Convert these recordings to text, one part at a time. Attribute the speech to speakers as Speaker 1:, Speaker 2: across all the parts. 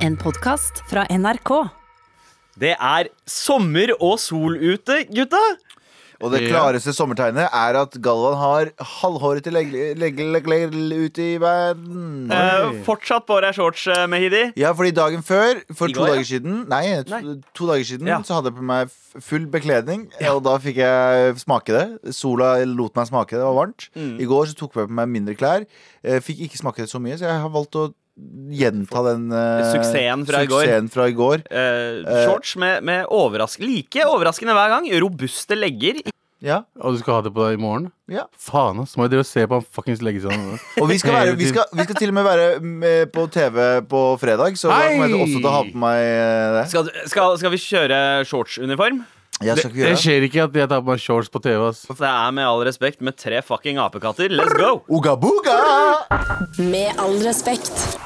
Speaker 1: En podkast fra NRK.
Speaker 2: Det er sommer og sol ute, gutta!
Speaker 3: Og det
Speaker 4: Ja.
Speaker 3: klareste sommertegnet er at Galvan har halvhåret til leggeleggelegg ute i verden.
Speaker 2: Eh, fortsatt på deg shorts, eh, Mehidi.
Speaker 3: Ja, fordi dagen før, for
Speaker 2: I
Speaker 3: to
Speaker 2: går, ja.
Speaker 3: dager siden Nei, to,
Speaker 2: Nei.
Speaker 3: to dager siden
Speaker 2: Ja.
Speaker 3: så hadde jeg på meg f- full bekledning, og da fikk jeg smake det. Sola lot meg smake det, det var varmt.
Speaker 2: Mm.
Speaker 3: I går så tok jeg på meg mindre klær. Eh, Fikk ikke smake det så mye, så jeg har valgt å gjenta den eh,
Speaker 2: Suksessen fra i går.
Speaker 3: suksessen fra i går.
Speaker 2: Eh, shorts med, med overras like overraskende hver gang. Robuste legger.
Speaker 3: Ja,
Speaker 4: Og du skal ha det på deg i morgen?
Speaker 3: ja.
Speaker 4: Faen, ass. Må jeg drive og se på han fuckings legge seg nå?
Speaker 3: Og vi skal, være, vi, skal, vi skal til og med være med på TV på fredag, så da kommer jeg til- også til å ha på meg eh, det.
Speaker 2: Skal, skal, skal vi kjøre shortsuniform?
Speaker 3: Jeg
Speaker 4: Det,
Speaker 3: skal ikke
Speaker 4: det
Speaker 3: gjøre det.
Speaker 4: skjer ikke at jeg tar på meg shorts på TV, ass.
Speaker 2: Det er med all respekt med tre fucking apekatter. Let's go!
Speaker 3: Uga buga!
Speaker 1: Med all respekt.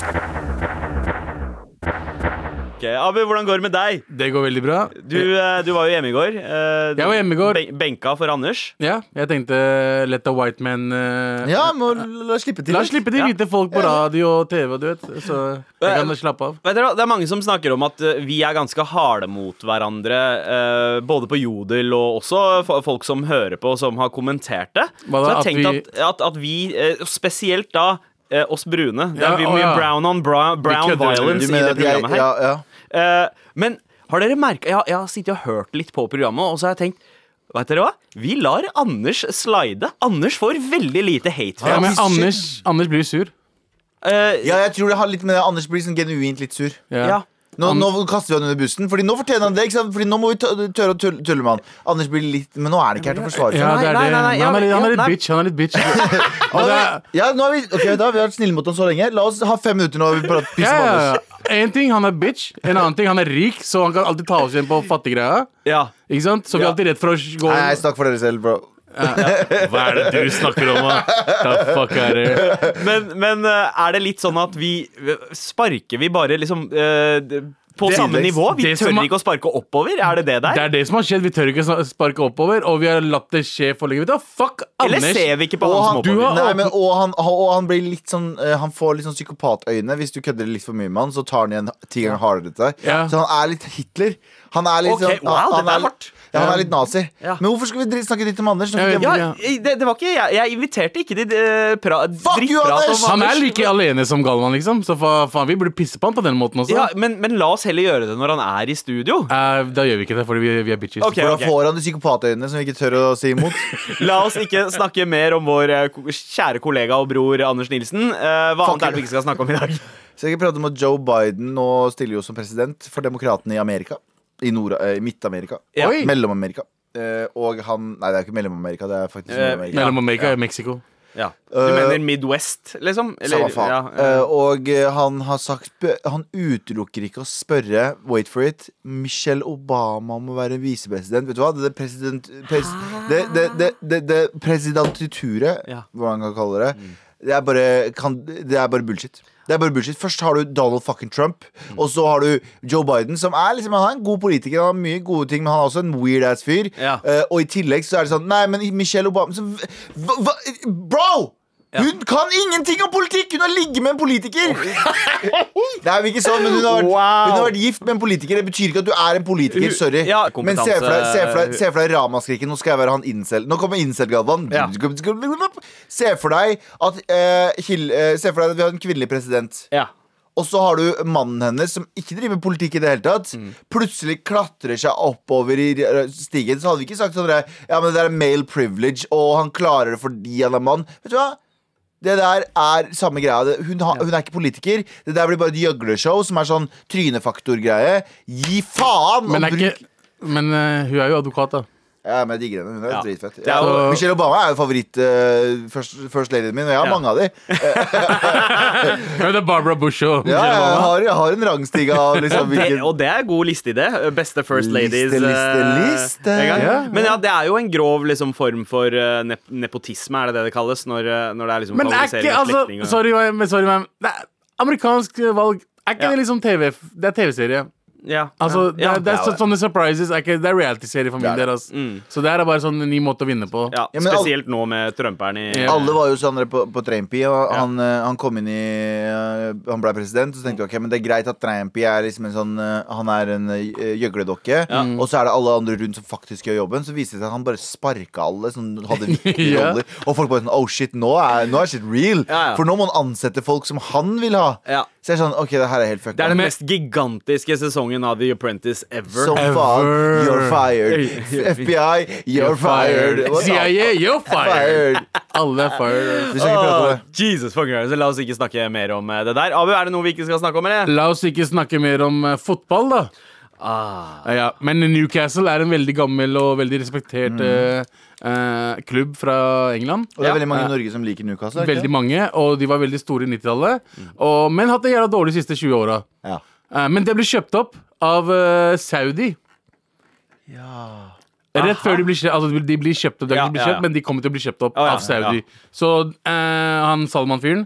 Speaker 2: Ok, Abu, hvordan går det med deg?
Speaker 4: Det går veldig bra.
Speaker 2: Du, eh, du var jo hjemme i går. eh, du-
Speaker 4: Jeg var hjemme i går.
Speaker 2: ben- Benka for Anders.
Speaker 4: Ja, jeg tenkte let the white man eh,
Speaker 3: Ja, må la slippe til.
Speaker 4: La oss slippe de
Speaker 2: Ja. Eh,
Speaker 4: hvite folk på radio og TV, du vet. Så jeg kan slappe av.
Speaker 2: Vet dere, hva, det er mange som snakker om at eh, vi er ganske harde mot hverandre. eh, både på Jodel og også fo- folk som hører på, som har kommentert det.
Speaker 4: Hva
Speaker 2: Så
Speaker 4: da,
Speaker 2: jeg tenkte at,
Speaker 4: at
Speaker 2: at, at vi, eh, spesielt da eh, oss brune Det
Speaker 4: Ja,
Speaker 2: er vi-
Speaker 4: å,
Speaker 2: mye
Speaker 4: ja.
Speaker 2: brown on brown, brown
Speaker 4: kødder med det.
Speaker 2: violence
Speaker 3: Du
Speaker 2: i
Speaker 3: mener
Speaker 2: det
Speaker 3: at jeg-
Speaker 2: programmet her.
Speaker 3: Ja, ja.
Speaker 2: Eh, men har dere merka jeg, har- jeg har sittet og hørt litt på programmet, og så har jeg tenkt Vet dere hva? Vi lar Anders slide. Anders får veldig lite hate. fra
Speaker 4: Ja, men
Speaker 3: shit.
Speaker 4: Anders, Anders blir sur.
Speaker 2: oss. Eh,
Speaker 3: ja, jeg tror det har litt med det. Anders blir sånn genuint litt sur.
Speaker 2: ja.
Speaker 3: Nå, nå kaster vi han under bussen, Fordi nå fortjener han det. Ikke sant? Fordi nå må vi tø- tørre å tulle, tulle med han. Anders blir litt Men nå er det ikke her til å forsvare
Speaker 4: Ja,
Speaker 3: seg.
Speaker 4: det er
Speaker 2: Nei, nei,
Speaker 4: det.
Speaker 2: nei, ja,
Speaker 4: Han er litt, han
Speaker 2: ja,
Speaker 4: er litt bitch. Han er litt bitch. Og det er,
Speaker 3: Ja, nå er vi, ok, da, vi har vært snille mot ham så lenge. La oss ha fem minutter nå. og Vi prater piss
Speaker 4: ja,
Speaker 3: om
Speaker 4: ja,
Speaker 3: Anders.
Speaker 4: ja. En ting, han er bitch. En annen ting, han er rik, så han kan alltid ta oss igjen på fattiggreia.
Speaker 2: ja.
Speaker 4: Ikke sant? Så vi er
Speaker 2: Ja.
Speaker 4: alltid redd for å gå
Speaker 3: Nei, nei, snakk for dere selv, bro.
Speaker 4: Hva er det du snakker om, da? The fuck er det?
Speaker 2: Men, men eh, er det litt sånn at vi Sparker vi bare liksom eh, d- på
Speaker 4: Det-
Speaker 2: samme nivå? Vi
Speaker 4: det som
Speaker 2: tør
Speaker 4: er-
Speaker 2: ikke å sparke oppover? Er det det
Speaker 4: Det
Speaker 2: der?
Speaker 4: er det som har skjedd. Vi tør ikke sna- sparke oppover, og vi har latt det skje for lenge. Vet du hva? Fuck
Speaker 2: Eller
Speaker 4: Anders!
Speaker 2: ser vi ikke på
Speaker 3: Og
Speaker 2: han som
Speaker 3: han,
Speaker 4: du
Speaker 2: oppover?
Speaker 4: har-
Speaker 3: nei, men, og, han, og han blir litt sånn eh, Han får litt sånn psykopatøyne. Hvis du kødder litt for mye med han, så tar han igjen ti ganger hardere til deg.
Speaker 4: Ja.
Speaker 3: Så han er litt Hitler. Han er litt
Speaker 2: Ok,
Speaker 3: sånn
Speaker 2: wow,
Speaker 3: han,
Speaker 2: dette er
Speaker 3: han
Speaker 2: hardt.
Speaker 3: Ja, han er litt nazi.
Speaker 2: Ja.
Speaker 3: Men hvorfor skal vi dritt, snakke dritt om Anders? Snakke
Speaker 4: Jeg vet
Speaker 3: dritt om-
Speaker 2: Ja, det, det var ikke jeg, jeg inviterte ikke til eh, pra,
Speaker 3: Fuck you,
Speaker 2: drittprat
Speaker 3: Anders!
Speaker 2: om
Speaker 4: Han er like alene som Galvan, liksom. Så fa faen, vi burde pisse på han på den måten også.
Speaker 2: ja, men, men la oss heller gjøre det når han er i studio.
Speaker 4: Eh, da gjør vi ikke det, fordi vi, vi er bitches.
Speaker 2: Ok,
Speaker 3: Hvordan
Speaker 2: ok.
Speaker 3: får han de psykopatøynene som vi ikke tør å si imot?
Speaker 2: La oss ikke snakke mer om vår eh, ko- kjære kollega og bror Anders Nilsen. Eh, hva
Speaker 3: Fuck
Speaker 2: annet er
Speaker 3: you.
Speaker 2: det vi ikke skal snakke om i dag?
Speaker 3: Så jeg prater om at Joe Biden nå stiller jo som president for demokratene i Amerika. I, Nord- eh, i Midt-Amerika.
Speaker 2: Ja.
Speaker 3: Oi. Mellom-Amerika. Eh, og han Nei, det er ikke Mellom-Amerika, det er faktisk
Speaker 2: Eh,
Speaker 3: Nord-Amerika.
Speaker 4: Mellom Amerika og Mexico.
Speaker 2: Ja. Du
Speaker 3: Eh,
Speaker 2: mener Midwest, liksom? Eller-
Speaker 3: Samme faen.
Speaker 2: ja, eh,
Speaker 3: Eh, og eh, han har sagt be- Han utelukker ikke å spørre Wait for it Michelle Obama om å være visepresident. Vet du hva? Det, det, president, pres, det, det, det, det, det presidentituret,
Speaker 2: Ja. Mm.
Speaker 3: hvordan kan man kalle det, det, er bare, kan, det er bare bullshit. Det er bare bullshit Først har du Donald fucking Trump,
Speaker 2: Mm.
Speaker 3: og så har du Joe Biden, som er liksom Han er en god politiker, han har mye gode ting, men han er også en weird ass fyr.
Speaker 2: Ja.
Speaker 3: Eh, og i tillegg så er det sånn Nei, men Michelle Obama så, hva, hva, Bro! Hun kan ingenting om politikk! Hun har ligget med en politiker! Det er jo ikke sånn, men hun har, vært,
Speaker 2: Wow.
Speaker 3: hun har vært gift med en politiker. Det betyr ikke at du er en politiker.
Speaker 2: Hun-
Speaker 3: Sorry.
Speaker 2: ja,
Speaker 3: men se
Speaker 2: kompetanse-
Speaker 3: for deg, se for deg, se for deg ramaskriket. Nå skal jeg være han incel. Nå kommer incel-Galvan.
Speaker 2: Ja.
Speaker 3: Se for deg at eh, Hill- eh, Se for deg at vi har en kvinnelig president.
Speaker 2: ja.
Speaker 3: Og så har du mannen hennes som ikke driver med politikk i det hele tatt.
Speaker 2: Mm.
Speaker 3: Plutselig klatrer seg oppover i stigen. Så hadde vi ikke sagt sånn der, Ja, men det der er male privilege, og han klarer det fordi han er mann. Vet du hva? Det der er samme greia. Det- Hun, har- hun er ikke politiker. Det der blir bare et gjøgleshow som er sånn trynefaktor-greie. Gi faen!
Speaker 4: Men,
Speaker 3: og
Speaker 4: er
Speaker 3: bruk-
Speaker 4: ikke, men eh, hun er jo advokat, da.
Speaker 3: Ja, men jeg digger henne. Hun er
Speaker 2: Ja.
Speaker 3: dritfett.
Speaker 2: Det er jo-
Speaker 3: Ja, Michelle Obama er jo favoritt eh, first, first ladyen min, og jeg har
Speaker 2: Ja.
Speaker 3: mange av de.
Speaker 4: Ja, det er Barbara Bush og
Speaker 3: Ja, jeg har, jeg har en rangstige av liksom,
Speaker 2: Det,
Speaker 3: hvilken
Speaker 2: og det er god listeidé. Beste First Ladies.
Speaker 3: Liste, liste,
Speaker 2: eh,
Speaker 3: liste.
Speaker 2: en gang.
Speaker 4: Ja.
Speaker 2: Men ja, det er jo en grov liksom, form for eh, nep nepotisme, er det det det kalles? Når, eh, når det er liksom
Speaker 4: Men er ikke
Speaker 2: favorisering av
Speaker 4: altså,
Speaker 2: slektninger.
Speaker 4: Sorry, men, sorry, men det er amerikansk valg. Er ikke
Speaker 2: Ja.
Speaker 4: det liksom TV? Det er TV-serie.
Speaker 2: Ja.
Speaker 4: Altså, det,
Speaker 2: ja,
Speaker 4: er, det er
Speaker 2: ja,
Speaker 4: så, sånne surprises. Er ikke, det er reality-serie for min
Speaker 3: Det er
Speaker 4: del. ass. Så det her er bare sånn en ny måte å vinne på.
Speaker 2: Mm. ja,
Speaker 3: Ja, men al-
Speaker 2: Spesielt nå med Trumperen i
Speaker 4: Ja.
Speaker 3: Alle var jo sånn der på, på Trampy, og han, eh, han kom inn i eh, Han ble president, og så tenkte jeg ok, men det er greit at Trampy er liksom en sånn eh, Han er en eh, gjøgledokke, og så er det alle andre rundt som faktisk gjør jobben. Så viste det seg at han bare sparka alle som hadde viktige
Speaker 4: Ja.
Speaker 3: roller, og folk bare sånn Oh shit, nå er, nå er shit real!
Speaker 2: Ja, ja.
Speaker 3: For nå må han ansette folk som han vil ha.
Speaker 2: Ja.
Speaker 3: Så jeg er sånn OK, det her er helt
Speaker 2: Det
Speaker 3: fucka.
Speaker 2: er den mest gigantiske sesongen av The Apprentice ever.
Speaker 3: Som
Speaker 4: Ever.
Speaker 3: faen. You're fired.
Speaker 2: Ever.
Speaker 3: FBI, you're fired. What the-
Speaker 4: CIA, you're
Speaker 3: Fired.
Speaker 4: fired. Alle er fired.
Speaker 3: Vi skal ikke
Speaker 2: Ah.
Speaker 3: prate om det.
Speaker 2: Jesus fucking Christ, La oss ikke snakke mer om eh, det der. Abu, er det noe vi ikke skal snakke om, eller?
Speaker 4: La oss ikke snakke mer om eh, fotball, da.
Speaker 2: Ah.
Speaker 4: Ja, men Newcastle er en veldig gammel og veldig respektert eh, eh, klubb fra England.
Speaker 3: Og det
Speaker 2: Ja.
Speaker 3: er veldig mange i Norge som liker Newcastle. er det ikke
Speaker 4: Veldig mange, og de var veldig store i 90-tallet. og- Men hatt det jævla dårlig de siste 20 åra.
Speaker 3: det? Ja.
Speaker 4: Eh, Men det ble kjøpt opp av eh, Saudi. Rett før de blir, kjøpt, altså de blir kjøpt opp, det er
Speaker 2: Ja,
Speaker 4: ikke de blir
Speaker 2: ja,
Speaker 4: kjøpt
Speaker 2: ja.
Speaker 4: men de kommer til å bli kjøpt opp
Speaker 2: Å, ja, Mm.
Speaker 4: av Saudi. Så eh, han Salman-fyren,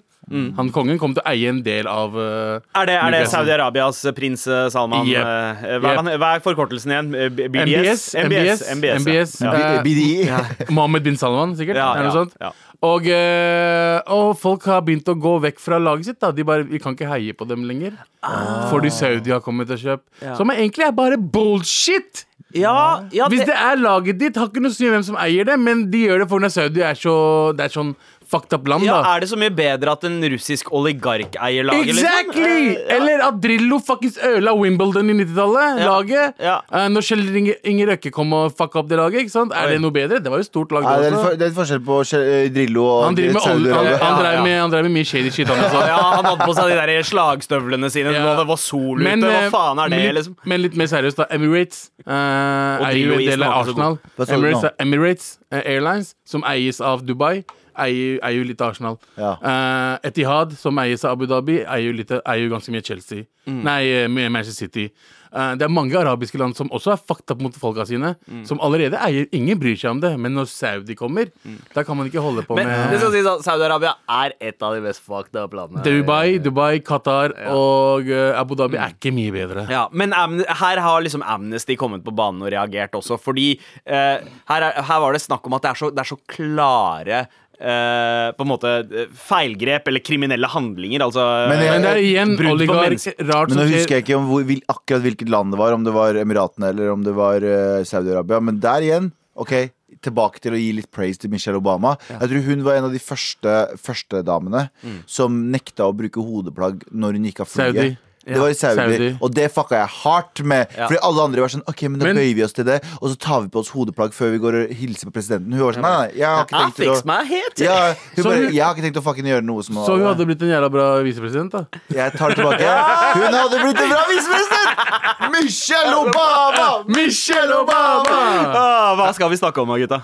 Speaker 4: han kongen, kommer til å eie en del av eh,
Speaker 2: Er det, er det
Speaker 4: Newcastle.
Speaker 2: Saudi-Arabias prins eh, Salman?
Speaker 4: Yep.
Speaker 2: eh, Hva, er han, hva er forkortelsen igjen? Eh, B- BDS?
Speaker 4: MBS,
Speaker 2: MBS,
Speaker 4: MBS,
Speaker 2: ja.
Speaker 4: Eh,
Speaker 3: BDI.
Speaker 4: Mohammed bin Salman, sikkert.
Speaker 2: Ja,
Speaker 4: er det
Speaker 2: ja,
Speaker 4: noe sånt?
Speaker 2: ja.
Speaker 4: Og, eh, og folk har begynt å gå vekk fra laget sitt. Da. De bare, Vi kan ikke heie på dem lenger.
Speaker 2: Ah.
Speaker 4: Fordi Saudi har kommet og kjøpt. Som egentlig er bare bullshit!
Speaker 2: Ja, ja,
Speaker 4: Hvis det er laget ditt, har ikke noe å si hvem som eier det, men de gjør det fordi Saudi er så Det er sånn fucked up land,
Speaker 2: ja,
Speaker 4: da.
Speaker 2: er det så mye bedre at en russisk oligark eier laget? liksom?
Speaker 4: Exactly!
Speaker 2: Eh,
Speaker 4: Eller at Drillo fuckings ødela Wimbledon i 90-tallet.
Speaker 2: Ja,
Speaker 4: Laget.
Speaker 2: ja.
Speaker 4: Eh, når Kjell Inge, Inge Røkke kom og fucka opp det laget. ikke sant?
Speaker 2: Oi.
Speaker 4: Er det noe bedre? Det var jo et stort lag.
Speaker 3: Nei, det,
Speaker 4: det
Speaker 3: er litt
Speaker 4: også.
Speaker 3: for, det er litt forskjell på Kjell- Drillo og
Speaker 4: Han driver med, olje- han,
Speaker 3: Saudi-Arabia.
Speaker 4: han,
Speaker 2: Ja,
Speaker 4: drev
Speaker 2: ja.
Speaker 4: med, han drev med mye shady shit. Han,
Speaker 2: Altså, ja,
Speaker 4: også.
Speaker 2: han hadde på seg de der slagstøvlene sine
Speaker 4: Ja.
Speaker 2: nå det var sol ute.
Speaker 4: Men,
Speaker 2: Hva
Speaker 4: eh,
Speaker 2: faen er det,
Speaker 4: men litt,
Speaker 2: liksom?
Speaker 4: Men litt mer seriøst, da. Emirates eh, eier jo
Speaker 2: Drillo
Speaker 4: en
Speaker 2: i
Speaker 4: del
Speaker 2: smaker sånn. så
Speaker 4: av
Speaker 2: god.
Speaker 4: Arsenal.
Speaker 3: Hva sa du
Speaker 4: Emirates,
Speaker 3: nå?
Speaker 4: Emirates eh, Airlines, som eies av Dubai, eier eier jo litt av Arsenal.
Speaker 3: Ja.
Speaker 4: Eh, Etihad, som eies av Abu Dhabi, eier jo, litt, eier jo ganske mye Chelsea.
Speaker 2: Mm.
Speaker 4: Nei, eh, mye Manchester City. Eh, det er mange arabiske land som også er fucked up mot folka sine.
Speaker 2: Mm.
Speaker 4: Som allerede eier Ingen bryr seg om det, men når Saudi kommer, da kan man ikke holde på
Speaker 2: Mm. Men
Speaker 4: med
Speaker 2: det skal sies at sånn, Saudi-Arabia er et av de mest fucked up landene.
Speaker 4: Dubai, Dubai, Qatar og eh, Abu Dhabi er ikke mye bedre.
Speaker 2: Ja, men Am- her har liksom Amnesty kommet på banen og reagert også, fordi eh, her, er, her var det snakk om at det er så, det er så klare eh, på en måte eh, feilgrep eller kriminelle handlinger, altså
Speaker 3: Men jeg-
Speaker 4: Men det er igjen
Speaker 2: Brudd på
Speaker 4: oligark.
Speaker 2: menneske-
Speaker 4: Rart
Speaker 3: Men nå
Speaker 4: som
Speaker 3: husker
Speaker 4: skjer.
Speaker 3: jeg ikke om hvor, hvil, akkurat hvilket land det var, om det var Emiratene eller om det var eh, Saudi-Arabia. Men der igjen, ok, tilbake til å gi litt praise til Michelle Obama. Jeg tror hun var en av de første førstedamene som nekta å bruke hodeplagg når hun gikk av flyet.
Speaker 4: Mm. Saudi.
Speaker 3: Det var i Saudi,
Speaker 4: Saudi.
Speaker 3: og det fucka jeg hardt med.
Speaker 2: Ja.
Speaker 3: Fordi alle andre var sånn OK, men da
Speaker 4: Men-
Speaker 3: bøyer vi oss til det, og så tar vi på oss hodeplagg før vi går og hilser på presidenten. Hun var sånn Nei, nei, jeg har ikke
Speaker 2: Jeg
Speaker 3: tenkt til å
Speaker 2: fikser Ah, meg helt!
Speaker 3: ja, hun
Speaker 4: Så
Speaker 3: bare,
Speaker 4: hun-
Speaker 3: jeg har ikke tenkt å fucking gjøre noe som
Speaker 4: Så hun hadde blitt en jævla bra visepresident, da.
Speaker 3: Jeg tar tilbake. Hun hadde blitt en bra visepresident! Michelle Obama!
Speaker 4: Michelle Obama!
Speaker 2: Ah, hva skal vi snakke om da, gutta?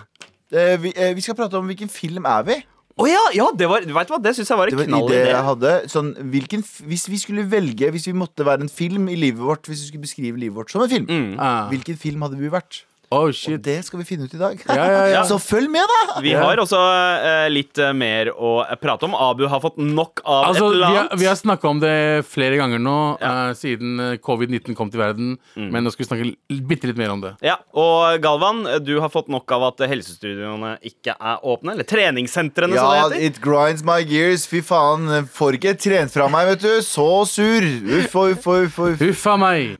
Speaker 3: Eh, vi, eh, vi skal prate om hvilken film er vi
Speaker 2: Å ja, ja, det var, vet du hva, det syns jeg var en
Speaker 3: Det var en idé
Speaker 2: knallidé.
Speaker 3: jeg hadde. Sånn, hvilken, f- hvis vi skulle velge, hvis vi måtte være en film i livet vårt, hvis vi skulle beskrive livet vårt som en film,
Speaker 2: Mm.
Speaker 4: Ah.
Speaker 3: hvilken film hadde vi vært?
Speaker 4: Oh
Speaker 3: Og
Speaker 4: shit.
Speaker 3: det skal vi finne ut i dag.
Speaker 4: Ja, ja, ja.
Speaker 3: Så følg med, da!
Speaker 2: Vi har også eh, litt eh, mer å prate om. Abu har fått nok av
Speaker 4: Altså,
Speaker 2: et
Speaker 4: vi
Speaker 2: eller
Speaker 4: har,
Speaker 2: annet.
Speaker 4: vi har snakka om det flere ganger nå eh, siden eh, covid-19 kom til verden.
Speaker 3: Mm.
Speaker 4: Men nå skal vi snakke l- bitte litt mer om det.
Speaker 2: Ja, Og Galvan, du har fått nok av at helsestudioene ikke er åpne. Eller treningssentrene,
Speaker 3: Ja,
Speaker 2: som det sånn heter.
Speaker 3: it grinds my gears. Fy faen, får ikke trent fra meg, vet du. Så sur. Uff og uff og uff. og uff.
Speaker 4: Huffa meg!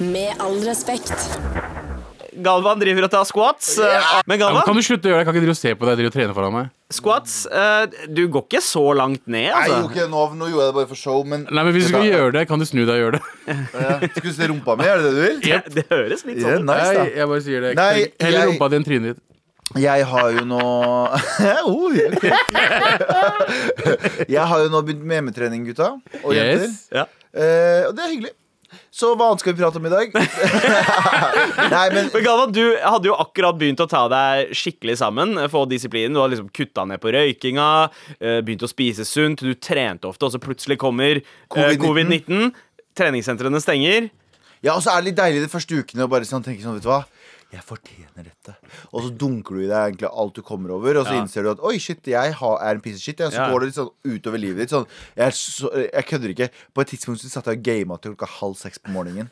Speaker 1: Med all respekt.
Speaker 2: Galvan driver og tar squats. eh, Men
Speaker 4: Ja, men
Speaker 2: Galvan,
Speaker 4: kan du slutte å gjøre det? Jeg kan ikke drive og se på deg drive og trene foran meg.
Speaker 2: squats eh, Du går ikke så langt ned,
Speaker 3: Nei,
Speaker 2: altså.
Speaker 3: ok, nå, nå gjorde jeg det bare for show, men
Speaker 4: Nei, men Hvis du skal gjøre det, kan du snu deg og gjøre det.
Speaker 3: Ja. Skal du se rumpa mi, er det det du vil?
Speaker 2: Det, det høres litt
Speaker 3: Ja,
Speaker 2: sånn ut.
Speaker 3: nice, da.
Speaker 4: Nei, jeg bare sier det.
Speaker 3: Nei,
Speaker 4: Heller
Speaker 3: jeg-
Speaker 4: rumpa di enn trynet ditt.
Speaker 3: Jeg har jo nå Oi. Jeg har jo nå begynt med hjemmetrening, gutta. Og jenter.
Speaker 4: Yes.
Speaker 2: Ja.
Speaker 3: Eh, og det er hyggelig. Så hva annet skal vi prate om i dag? Nei, men
Speaker 2: Men Galvan, du hadde jo akkurat begynt å ta deg skikkelig sammen. eh, Få disiplinen. Du har liksom kutta ned på røykinga, eh, begynt å spise sunt, du trente ofte, og så plutselig kommer eh,
Speaker 3: Covid-19.
Speaker 2: covid-19. Treningssentrene stenger.
Speaker 3: Ja, og så er det litt deilig de første ukene å bare sånn tenke sånn, vet du hva. Jeg fortjener dette. Og så dunker du i deg egentlig alt du kommer over, og så
Speaker 2: Ja.
Speaker 3: innser du at oi, shit, jeg har, er en piece of shit. Og så
Speaker 2: Ja.
Speaker 3: går det litt sånn utover livet ditt. Sånn, jeg, er så, jeg kødder ikke. På et tidspunkt så satt jeg og gama til klokka halv seks på morgenen.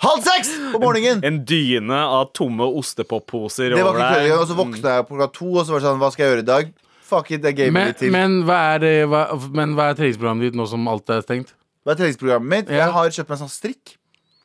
Speaker 3: halv seks på morgenen!
Speaker 2: En dyne av tomme ostepopposer
Speaker 3: Det var
Speaker 2: over
Speaker 3: ikke kødd
Speaker 2: deg.
Speaker 3: engang. Og så våkna jeg på klokka to, og så var det sånn, hva skal jeg gjøre i dag? Fuck it, jeg gamer
Speaker 4: Men,
Speaker 3: litt til.
Speaker 4: men hva er, eh, hva, men hva er treningsprogrammet ditt nå som alt er stengt?
Speaker 3: Hva er treningsprogrammet mitt?
Speaker 4: Ja.
Speaker 3: Jeg har kjøpt meg sånn strikk.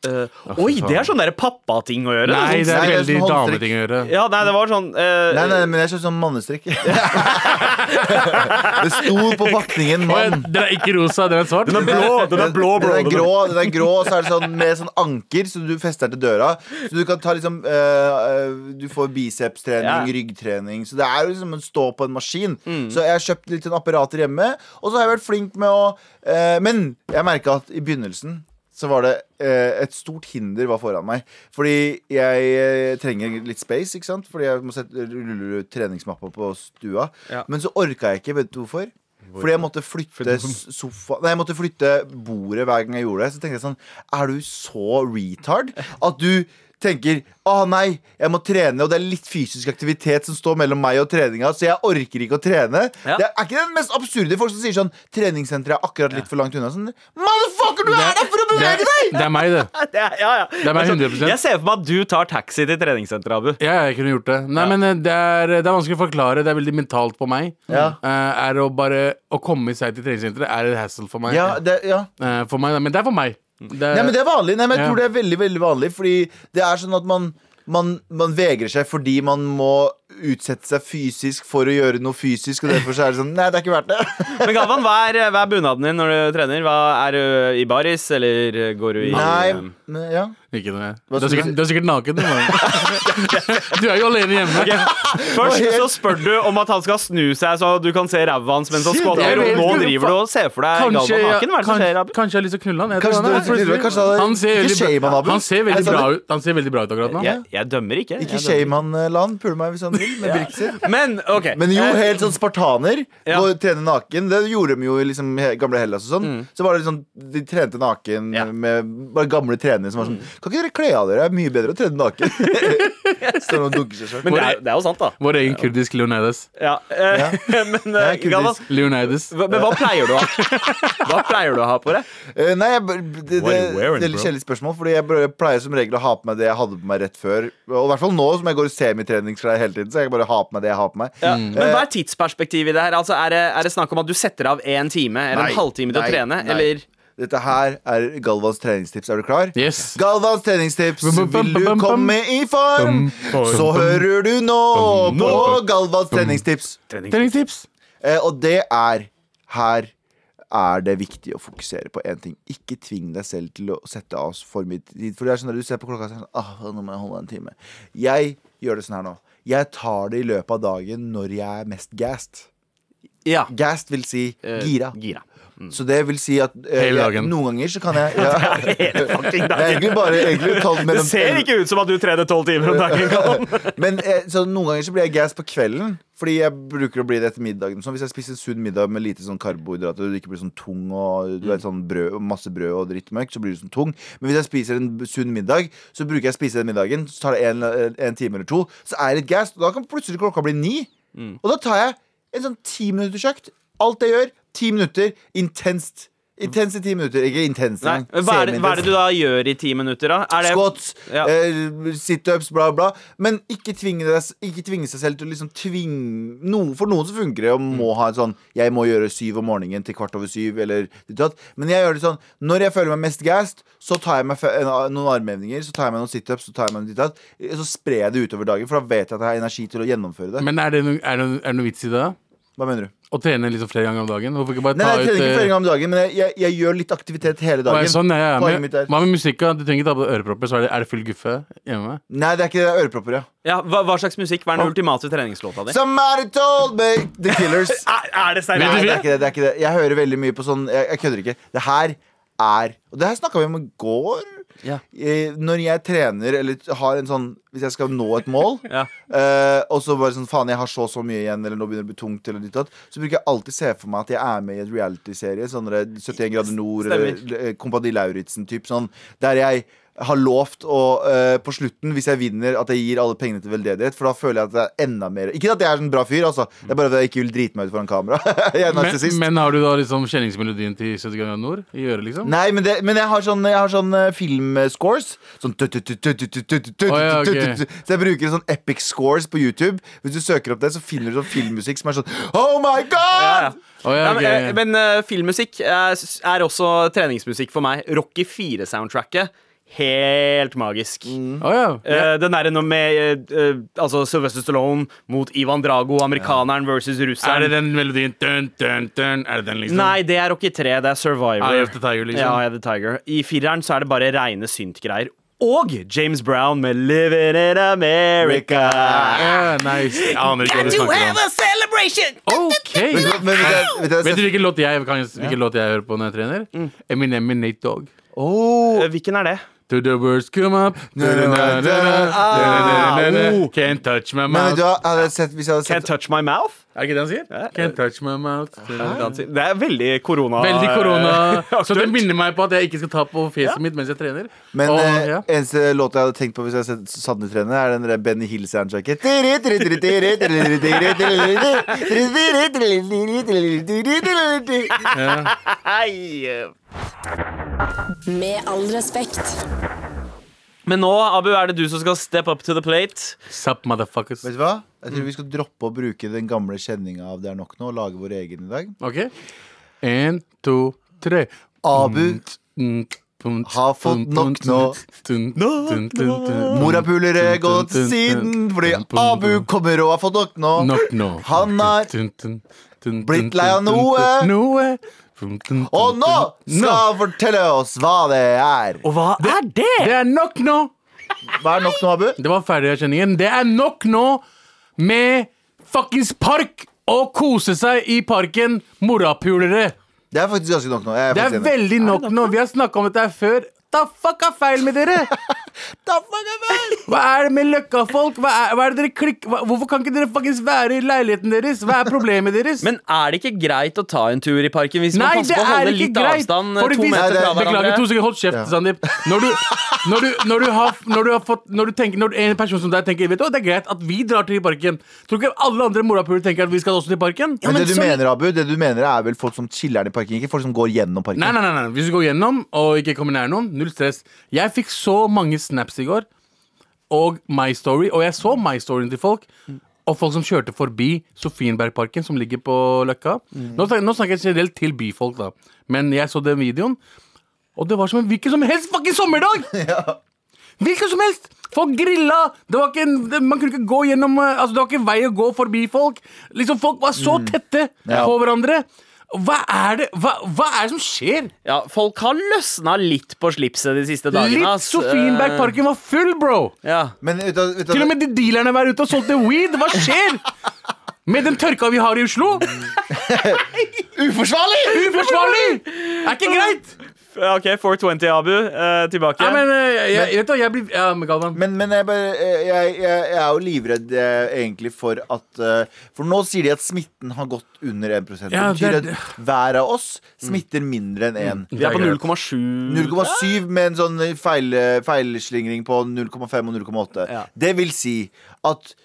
Speaker 2: Eh, Oi, det er sånn derre pappating å gjøre.
Speaker 4: Nei, det
Speaker 2: sånn,
Speaker 4: er
Speaker 3: Nei, det er
Speaker 4: veldig
Speaker 3: som håndtrykk.
Speaker 4: dameting å gjøre.
Speaker 2: ja, nei, det var sånn eh,
Speaker 3: Nei, nei, men jeg kjøpte sånn mannestrikk. det sto på pakningen
Speaker 4: Å, ja,
Speaker 3: mann.
Speaker 4: Den er ikke rosa, den er svart.
Speaker 2: Den er blå, den er blå, blå.
Speaker 3: Den er grå, den er grå og så er det sånn med sånn anker som du fester til døra. Så du kan ta liksom eh, eh, Du får bicepstrening,
Speaker 2: Ja. Mm.
Speaker 3: ryggtrening. Så det er jo liksom en stå på en maskin. Så jeg har kjøpt litt sånn apparater hjemme, og så har jeg vært flink med å eh, Men jeg merka at i begynnelsen så var det eh, et stort hinder var foran meg. Fordi jeg eh, trenger litt space, ikke sant? Fordi jeg må sette rulle ut treningsmappa på stua.
Speaker 2: Ja.
Speaker 3: Men så orka jeg ikke, vet du hvorfor? Fordi jeg måtte flytte s- sofa Nei, jeg måtte flytte bordet hver gang jeg gjorde det. Så tenkte jeg sånn Er du så retard at du tenker Å nei, jeg må trene, og det er litt fysisk aktivitet som står mellom meg og treninga, så jeg orker ikke å trene.
Speaker 2: Ja.
Speaker 3: Det er ikke den mest absurde folk som sier sånn Treningssenteret er akkurat litt for langt unna. Sånn, Motherfucker, du er der for å
Speaker 4: Det er,
Speaker 3: bevege deg!
Speaker 4: det er meg, det.
Speaker 2: Det er, ja, ja.
Speaker 4: er meg
Speaker 2: sånn-
Speaker 4: 100%.
Speaker 2: Jeg ser for meg at du tar taxi til treningssenteret, Abu.
Speaker 4: Ja, jeg kunne gjort det. Nei, men eh, det er, det er vanskelig å forklare. Det er veldig mentalt på meg.
Speaker 3: Ja.
Speaker 4: Eh, er å bare Å komme seg til treningssenteret er et hassle for meg.
Speaker 3: Ja, det, ja.
Speaker 4: Eh, for meg. da. Men det er for meg. Det,
Speaker 2: Eh,
Speaker 3: Nei, men det er vanlig. Nei, men jeg
Speaker 4: Ja.
Speaker 3: tror det er veldig, veldig vanlig. Fordi det er sånn at man man, man vegrer seg fordi man må utsette seg fysisk for å gjøre noe fysisk. Og derfor så er det sånn Nei, det er ikke verdt det.
Speaker 2: Men Galvan, hva er, hva er bunaden din når du trener? Hva Er du i baris, eller går du i eh,
Speaker 3: Nei, men, ja.
Speaker 4: Ikke noe.
Speaker 3: Hva
Speaker 4: Du
Speaker 3: skulle
Speaker 4: er sikkert,
Speaker 3: du-
Speaker 4: du er sikkert naken. du, mann. Du er jo alene hjemme.
Speaker 2: Ok, Først så spør du om at han skal snu seg, så du kan se ræva hans mens han
Speaker 3: Shit,
Speaker 2: skvatter.
Speaker 4: jeg
Speaker 2: Og
Speaker 4: vet
Speaker 2: nå
Speaker 4: ikke.
Speaker 2: driver du og ser for deg
Speaker 4: Kanskje,
Speaker 2: Galvan
Speaker 4: jeg-
Speaker 2: naken. Hva er det som skjer,
Speaker 4: kanskje,
Speaker 2: Abu?
Speaker 4: kanskje jeg har lyst til å knulle han. Jeg
Speaker 3: Kanskje
Speaker 4: tror han,
Speaker 3: det-
Speaker 4: plutselig-
Speaker 3: kanskje det-
Speaker 4: han ser
Speaker 3: ikke shame han,
Speaker 4: veldig,
Speaker 3: Abu.
Speaker 4: bra- han ser
Speaker 3: Jeg
Speaker 4: veldig
Speaker 3: sa
Speaker 4: bra
Speaker 3: det.
Speaker 4: ut Han ser veldig bra ut akkurat nå.
Speaker 2: Jeg, jeg dømmer ikke.
Speaker 3: Ikke
Speaker 2: Jeg dømmer
Speaker 3: shame han, eh, Lan. Pule meg hvis han vil, med Birkser.
Speaker 2: ikke. Men ok.
Speaker 3: Men jo,
Speaker 2: Eh,
Speaker 3: helt sånn spartaner.
Speaker 2: Ja.
Speaker 3: Gå og trene naken. Det gjorde de jo i liksom he- gamle Hellas og sånn. Så var det sånn, De trente naken
Speaker 2: Mm. Ja. Mm.
Speaker 3: med bare gamle trenere som var sånn Kan ikke dere kle av dere? Det er mye bedre å trene naken. Står og dunker seg sjøl.
Speaker 2: Men det er, det er jo sant, da.
Speaker 4: Vår egen kurdisk Leonidas.
Speaker 2: Ja. eh, Men eh,
Speaker 3: Jeg er kurdisk.
Speaker 2: Galvan,
Speaker 4: Leonidas.
Speaker 2: hva- men hva pleier du å ha? Hva pleier du å ha på deg?
Speaker 3: Eh, nei, jeg, b- b- det, det,
Speaker 2: What are you
Speaker 3: det
Speaker 2: wearing,
Speaker 3: er litt
Speaker 2: bro?
Speaker 3: kjedelig spørsmål. Fordi jeg bare pleier som regel å ha på meg det jeg hadde på meg rett før. Og i hvert fall nå som jeg går i semitreningsklær hele tiden. Så jeg kan bare ha på meg det jeg har på meg.
Speaker 2: Ja.
Speaker 4: Mm.
Speaker 2: Men hva er tidsperspektivet i det her? Altså, er, det, er det snakk om at du setter av én time eller
Speaker 3: Nei,
Speaker 2: en halvtime til
Speaker 3: nei,
Speaker 2: å trene?
Speaker 3: nei.
Speaker 2: Eller
Speaker 3: Dette her er Galvans treningstips. Er du klar?
Speaker 4: Yes.
Speaker 3: Galvans treningstips.
Speaker 4: Bum, bum, bum,
Speaker 3: Vil du
Speaker 4: bum, bum.
Speaker 3: komme i form,
Speaker 4: Bum, bum,
Speaker 3: så
Speaker 4: bum.
Speaker 3: hører du nå
Speaker 4: Bum,
Speaker 3: på
Speaker 4: nå.
Speaker 3: Galvans treningstips.
Speaker 4: Treningstips.
Speaker 3: Eh, og det er Her er det viktig å fokusere på én ting. Ikke tving deg selv til å sette av for mye tid. For det er sånn at du ser på klokka og sier sånn, ah, nå må jeg holde en time. Jeg gjør det sånn her nå. Jeg tar det i løpet av dagen når jeg er mest gassed.
Speaker 2: Ja.
Speaker 3: Gassed vil si
Speaker 2: eh,
Speaker 3: gira.
Speaker 2: gira.
Speaker 3: Så det vil si at eh, jeg,
Speaker 4: Hele dagen.
Speaker 3: noen ganger så kan jeg ja, Det
Speaker 2: Hele fucking
Speaker 3: er
Speaker 2: dagen.
Speaker 3: egentlig bare egentlig tolv
Speaker 2: Det
Speaker 3: mellom
Speaker 2: ser ikke ut som at du trener tolv timer om dagen. Galvan.
Speaker 3: Men eh, så noen ganger så blir jeg gass på kvelden. Fordi jeg bruker å bli det etter middagen. Så hvis jeg spiser en sunn middag med lite sånn karbohydrater, og du ikke blir sånn tung og
Speaker 2: Mm.
Speaker 3: du vet, sånn brød, masse brød og drittmøkk, så blir du sånn tung. Men hvis jeg spiser en b- sunn middag, så bruker jeg å spise den middagen, så tar det en, en time eller to, så er jeg litt gass. Og da kan plutselig klokka bli ni.
Speaker 2: Mm.
Speaker 3: Og da tar jeg en sånn ti minutters økt. Alt jeg gjør, ti minutter. Intenst. Intense ti minutter. Ikke intenst
Speaker 2: Nei,
Speaker 3: engang.
Speaker 2: men hva, er det, hva er det
Speaker 3: Semi-intenst.
Speaker 2: du da gjør i ti minutter, da? Er det,
Speaker 3: Squats,
Speaker 2: Ja.
Speaker 3: eh, situps, bla, bla. Men ikke tvinge, deg, ikke tvinge seg selv til å liksom tvinge noe, For noen så funker det å må ha en sånn Jeg må gjøre syv om morgenen til kvart over syv, eller ditt og datt. Men jeg gjør det sånn når jeg føler meg mest gassed, så tar jeg meg fe- en- noen armhevninger, så tar jeg meg noen situps, så tar jeg meg noen ditt og datt. Eh, Så sprer jeg det utover dagen, for da vet jeg at jeg har energi til å gjennomføre det.
Speaker 4: Men er det, noe, er, det, noe- er det noe vits i det? da?
Speaker 3: Hva mener du?
Speaker 4: Å trene liksom flere ganger om dagen? Hvorfor ikke bare
Speaker 3: Nei,
Speaker 4: ta
Speaker 3: nei, jeg trenger ikke flere
Speaker 4: ut eh,
Speaker 3: ganger om dagen, men jeg, jeg, jeg gjør litt aktivitet hele
Speaker 4: hva er
Speaker 3: dagen.
Speaker 4: det sånn, ja, ja,
Speaker 3: Poenget
Speaker 4: men-
Speaker 3: mitt er
Speaker 4: Hva med musikka? Du trenger ikke ta på deg ørepropper, så er det, er det full guffe hjemme.
Speaker 3: Nei, det er ikke det, det er ørepropper, ja.
Speaker 2: ja, hva, hva slags musikk? Hva er den ultimate treningslåta di?
Speaker 3: Somebody told me The Killers.
Speaker 2: Er, er det
Speaker 3: Nei,
Speaker 4: Vil du-
Speaker 2: seriøst?
Speaker 3: det er ikke det. det, er ikke det. Jeg hører veldig mye på sånn Jeg, jeg kødder ikke. Det her er Og det her snakka vi om i går.
Speaker 2: Ja.
Speaker 3: Eh, Når jeg trener eller har en sånn Hvis jeg skal nå et mål,
Speaker 2: Ja.
Speaker 3: eh, og så bare sånn Faen, jeg har så så mye igjen, eller nå begynner det å bli tungt, eller ditt og datt, så bruker jeg alltid se for meg at jeg er med i en realityserie. Sånn der 71 grader nord,
Speaker 2: Stemmer.
Speaker 3: eller eh, Kompani Lauritzen-type. Sånn der jeg har lovt å eh, på slutten, hvis jeg vinner, at jeg gir alle pengene til veldedighet. For da føler jeg at det er enda mer Ikke at jeg er en bra fyr, altså. Det er bare at jeg ikke vil drite meg ut foran kamera. jeg er
Speaker 4: Men,
Speaker 3: narsissist.
Speaker 4: men har du da liksom kjenningsmelodien til 70 ganger nord i øret, liksom?
Speaker 3: Nei, men, det, men jeg har sånn, jeg har sånn eh, filmscores. Sånn tut, tut, tut, tut, tut, tut, tut, tut,
Speaker 4: Å, ja, ok.
Speaker 3: tut, tut. Så jeg bruker sånn epic scores på YouTube. Hvis du søker opp det, så finner du sånn filmmusikk som er sånn Oh my
Speaker 2: Ja, ja.
Speaker 3: god!
Speaker 4: Å, ja,
Speaker 2: Ja, men,
Speaker 4: ok.
Speaker 2: eh, men eh, filmmusikk eh, s- er også treningsmusikk for meg. Rocky 4-soundtracket. Helt magisk.
Speaker 4: Å, Mm. ja.
Speaker 2: Eh, den derre nå med eh, eh, altså Sylvester Stallone mot Ivan Drago, amerikaneren versus
Speaker 4: Er det
Speaker 2: russeren.
Speaker 4: den melodien dun, dun, dun, Er det den, liksom?
Speaker 2: Nei, det er Rocky 3. Det er Survivor.
Speaker 4: Eye of the Tiger, liksom.
Speaker 2: Ja, Eye of the Tiger. I fireren så er det bare reine synt-greier. Og James Brown med 'Living in America'.
Speaker 4: Ja, nice. Jeg aner ikke hva du snakker om.
Speaker 2: a celebration!
Speaker 3: Vet du
Speaker 4: Ok
Speaker 3: hva- men vet du- vet du Mm. hva jeg
Speaker 4: Vet du
Speaker 3: ser-
Speaker 4: hvilken låt jeg, kan, hvilken låt jeg hører på når jeg trener? Eminem med Nate Dogg. Oh.
Speaker 3: Åh,
Speaker 2: Eh, Hvilken er det?
Speaker 4: To the words come up
Speaker 3: Ah, oh.
Speaker 4: Can't touch my
Speaker 3: Men vet
Speaker 4: mouth
Speaker 3: du hva, hadde jeg sett, hvis jeg hadde
Speaker 2: Can't
Speaker 3: sett
Speaker 2: touch my mouth?
Speaker 4: Er det ikke det han sier? Can't touch my mouth
Speaker 2: Det er veldig korona.
Speaker 4: Veldig korona Så det
Speaker 2: Aktuelt.
Speaker 4: minner meg på at jeg ikke skal ta på fjeset mitt mens jeg trener
Speaker 3: Men
Speaker 4: Og,
Speaker 3: eh,
Speaker 4: ja.
Speaker 3: eneste låta jeg hadde tenkt på hvis jeg hadde sett Sanne trene, er den der Benny Hill-soundtracket.
Speaker 4: Ja.
Speaker 2: Hei.
Speaker 1: Med all respekt.
Speaker 2: Men nå, Abu, er det du som skal step up to the plate.
Speaker 4: Sup motherfuckers
Speaker 3: Vet du hva? Jeg tror vi skal droppe å bruke den gamle kjenninga av Det er nok nå, og lage vår egen i dag.
Speaker 4: Ok En, to, tre Mm,
Speaker 3: Abu Har fått nok nå. Morapulere går til siden fordi Abu kommer og har fått nok nå.
Speaker 4: Nok nå.
Speaker 3: Han er blitt lei av noe. Og nå skal han fortelle oss hva det er.
Speaker 2: Og hva er det?
Speaker 4: Det er nok nå!
Speaker 3: Hva er nok nå, Abu?
Speaker 4: Det var ferdigerkjenningen. Det er nok nå med fuckings park! Å kose seg i parken, morapulere.
Speaker 3: Det er faktisk ganske nok nå. Jeg er
Speaker 4: Det er
Speaker 3: faktisk enig.
Speaker 4: veldig nok nå. Vi har snakka om dette her før. Da fuck er feil med dere?
Speaker 3: Da fuck er vel!
Speaker 4: Hva er det med løkkafolk? Hva er, hva er det dere klikk... Hva, hvorfor kan ikke dere fuckings være i leiligheten deres? Hva er problemet deres?
Speaker 2: Men er det ikke greit å ta en tur i parken hvis
Speaker 4: Nei,
Speaker 2: man passer
Speaker 4: det
Speaker 2: på å
Speaker 4: er
Speaker 2: holde
Speaker 4: ikke
Speaker 2: litt
Speaker 4: greit!
Speaker 2: avstand? eh,
Speaker 4: Fordi
Speaker 2: To
Speaker 4: hvis-
Speaker 2: meter fra
Speaker 3: Nei, det-
Speaker 4: Beklager,
Speaker 2: hverandre?
Speaker 4: to sekunder. Hold kjeft, Sandeep. Når du, når, du, når, du har, når du har fått Når du tenker Når en person som deg tenker Vet du hva, det er greit at vi drar til parken. Tror ikke alle andre morapuler tenker at vi skal også til parken?
Speaker 3: Men det du
Speaker 4: så-
Speaker 3: mener, Abu, det du mener er vel folk som chiller'n i parken, ikke folk som går gjennom parken.
Speaker 4: Nei, nei, nei, nei. Hvis du går gjennom og ikke kommer nær noen, null stress. Jeg fikk så mange snaps i går, og My Story, og jeg så My Storyen til folk. Og folk som kjørte forbi Sofienbergparken, som ligger på Løkka.
Speaker 2: Mm.
Speaker 4: Nå, snakker, nå snakker jeg generelt til byfolk, da. Men jeg så den videoen, og det var som en hvilken som helst fucking sommerdag! Hvilken som helst! Folk grilla! Det var ikke en, det, man kunne ikke gå gjennom eh, Altså, det var ikke vei å gå forbi folk. Liksom Folk var så tette
Speaker 3: Ja.
Speaker 4: på hverandre. Hva er det Hva, hva er det som skjer?
Speaker 2: Ja, folk har løsna litt på slipset de siste dagene.
Speaker 4: Litt
Speaker 2: ass.
Speaker 4: Sofienbergparken var full, bro!
Speaker 2: Eh, Ja.
Speaker 3: Men vet du, hva- vet du,
Speaker 4: Til og
Speaker 3: hva-
Speaker 4: med de dealerne var ute og solgte weed! Hva skjer? Med den tørka vi har i Oslo?
Speaker 3: Uforsvarlig!
Speaker 4: Uforsvarlig! Er ikke greit!
Speaker 2: Eh, OK, 420, Abu. eh, tilbake.
Speaker 4: Nei, men eh, jeg, vet du, hva, jeg blir ja, men Galvan.
Speaker 3: Men, men jeg, bare, eh, jeg, jeg, jeg er jo livredd eh, egentlig for at eh, For nå sier de at smitten har gått under 1 Det
Speaker 4: Ja,
Speaker 3: betyr
Speaker 4: det- Mm.
Speaker 3: at hver av oss smitter mindre enn én.
Speaker 2: vi er på
Speaker 4: Det er greit.
Speaker 2: 0,7.
Speaker 3: 0,7 med en sånn feil, feilslingring på 0,5 og 0,8.
Speaker 2: Ja.
Speaker 3: Det vil si at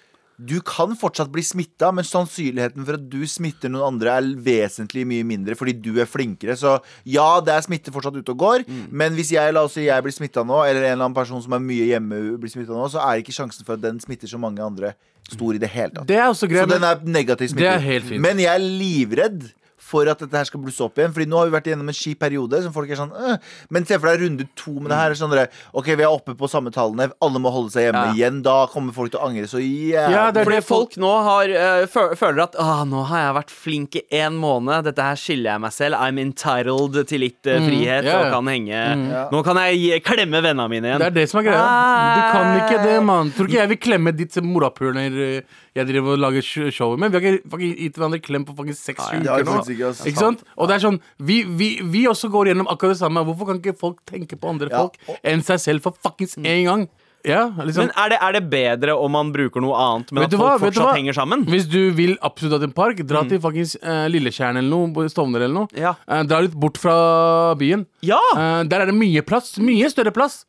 Speaker 3: du kan fortsatt bli smitta, men sannsynligheten for at du smitter noen andre, er vesentlig mye mindre fordi du er flinkere. Så ja, det er smitte fortsatt ute og går, men hvis jeg la oss si jeg blir smitta nå, eller en eller annen person som er mye hjemme, blir smittet nå, så er ikke sjansen for at den smitter så mange andre, stor i det hele tatt.
Speaker 4: Det er også
Speaker 3: Så
Speaker 4: greit.
Speaker 3: den er negativ smitte.
Speaker 4: Det er helt fint.
Speaker 3: Men jeg er livredd for at dette her skal blusse opp igjen. Fordi nå har vi vært igjennom en kjip periode. Som folk er sånn «Øh». Men se for deg runde to med det her. er Sånn dere, ok, vi er oppe på samme tallene. Alle må holde seg
Speaker 2: Ja.
Speaker 3: hjemme igjen. Da kommer folk til å angre så jævlig.
Speaker 4: Ja, det er
Speaker 2: Fordi
Speaker 4: det
Speaker 2: folk
Speaker 4: folk
Speaker 2: nå har, eh, fø føler at Åh, nå har jeg vært flink i én måned. Dette her skylder jeg meg selv. I'm entitled til litt eh, frihet
Speaker 4: ja, ja.
Speaker 2: og kan henge. Nå kan jeg gi- klemme vennene mine igjen.
Speaker 4: Det er det som er greia. Du kan ikke det, mann. Tror ikke jeg vil klemme ditt morapuler eh, jeg driver og lager sh- showet med. Vi har ikke fucking gitt hverandre klem på fucking seks
Speaker 3: det har vi
Speaker 4: uker nå.
Speaker 3: faktisk ikke,
Speaker 2: altså.
Speaker 3: ass.
Speaker 4: Ikke sant? Og det er sånn vi, vi, vi også går gjennom akkurat det samme. Hvorfor kan ikke folk tenke på andre
Speaker 3: Ja,
Speaker 2: Mm.
Speaker 4: folk enn seg selv for fuckings én gang? Ja, liksom.
Speaker 2: Men er det, er det bedre om man bruker noe annet, men
Speaker 4: Vet
Speaker 2: at
Speaker 4: du
Speaker 2: folk
Speaker 4: hva, vet du
Speaker 2: fortsatt
Speaker 4: hva?
Speaker 2: henger sammen? Mm.
Speaker 4: Hvis du vil absolutt ha en park, dra til fuckings eh, Lilletjern eller noe, på Stovner eller noe.
Speaker 2: Ja.
Speaker 4: Eh, dra litt bort fra byen.
Speaker 2: Ja! Mm.
Speaker 4: Eh, der er det mye plass. Mye større plass.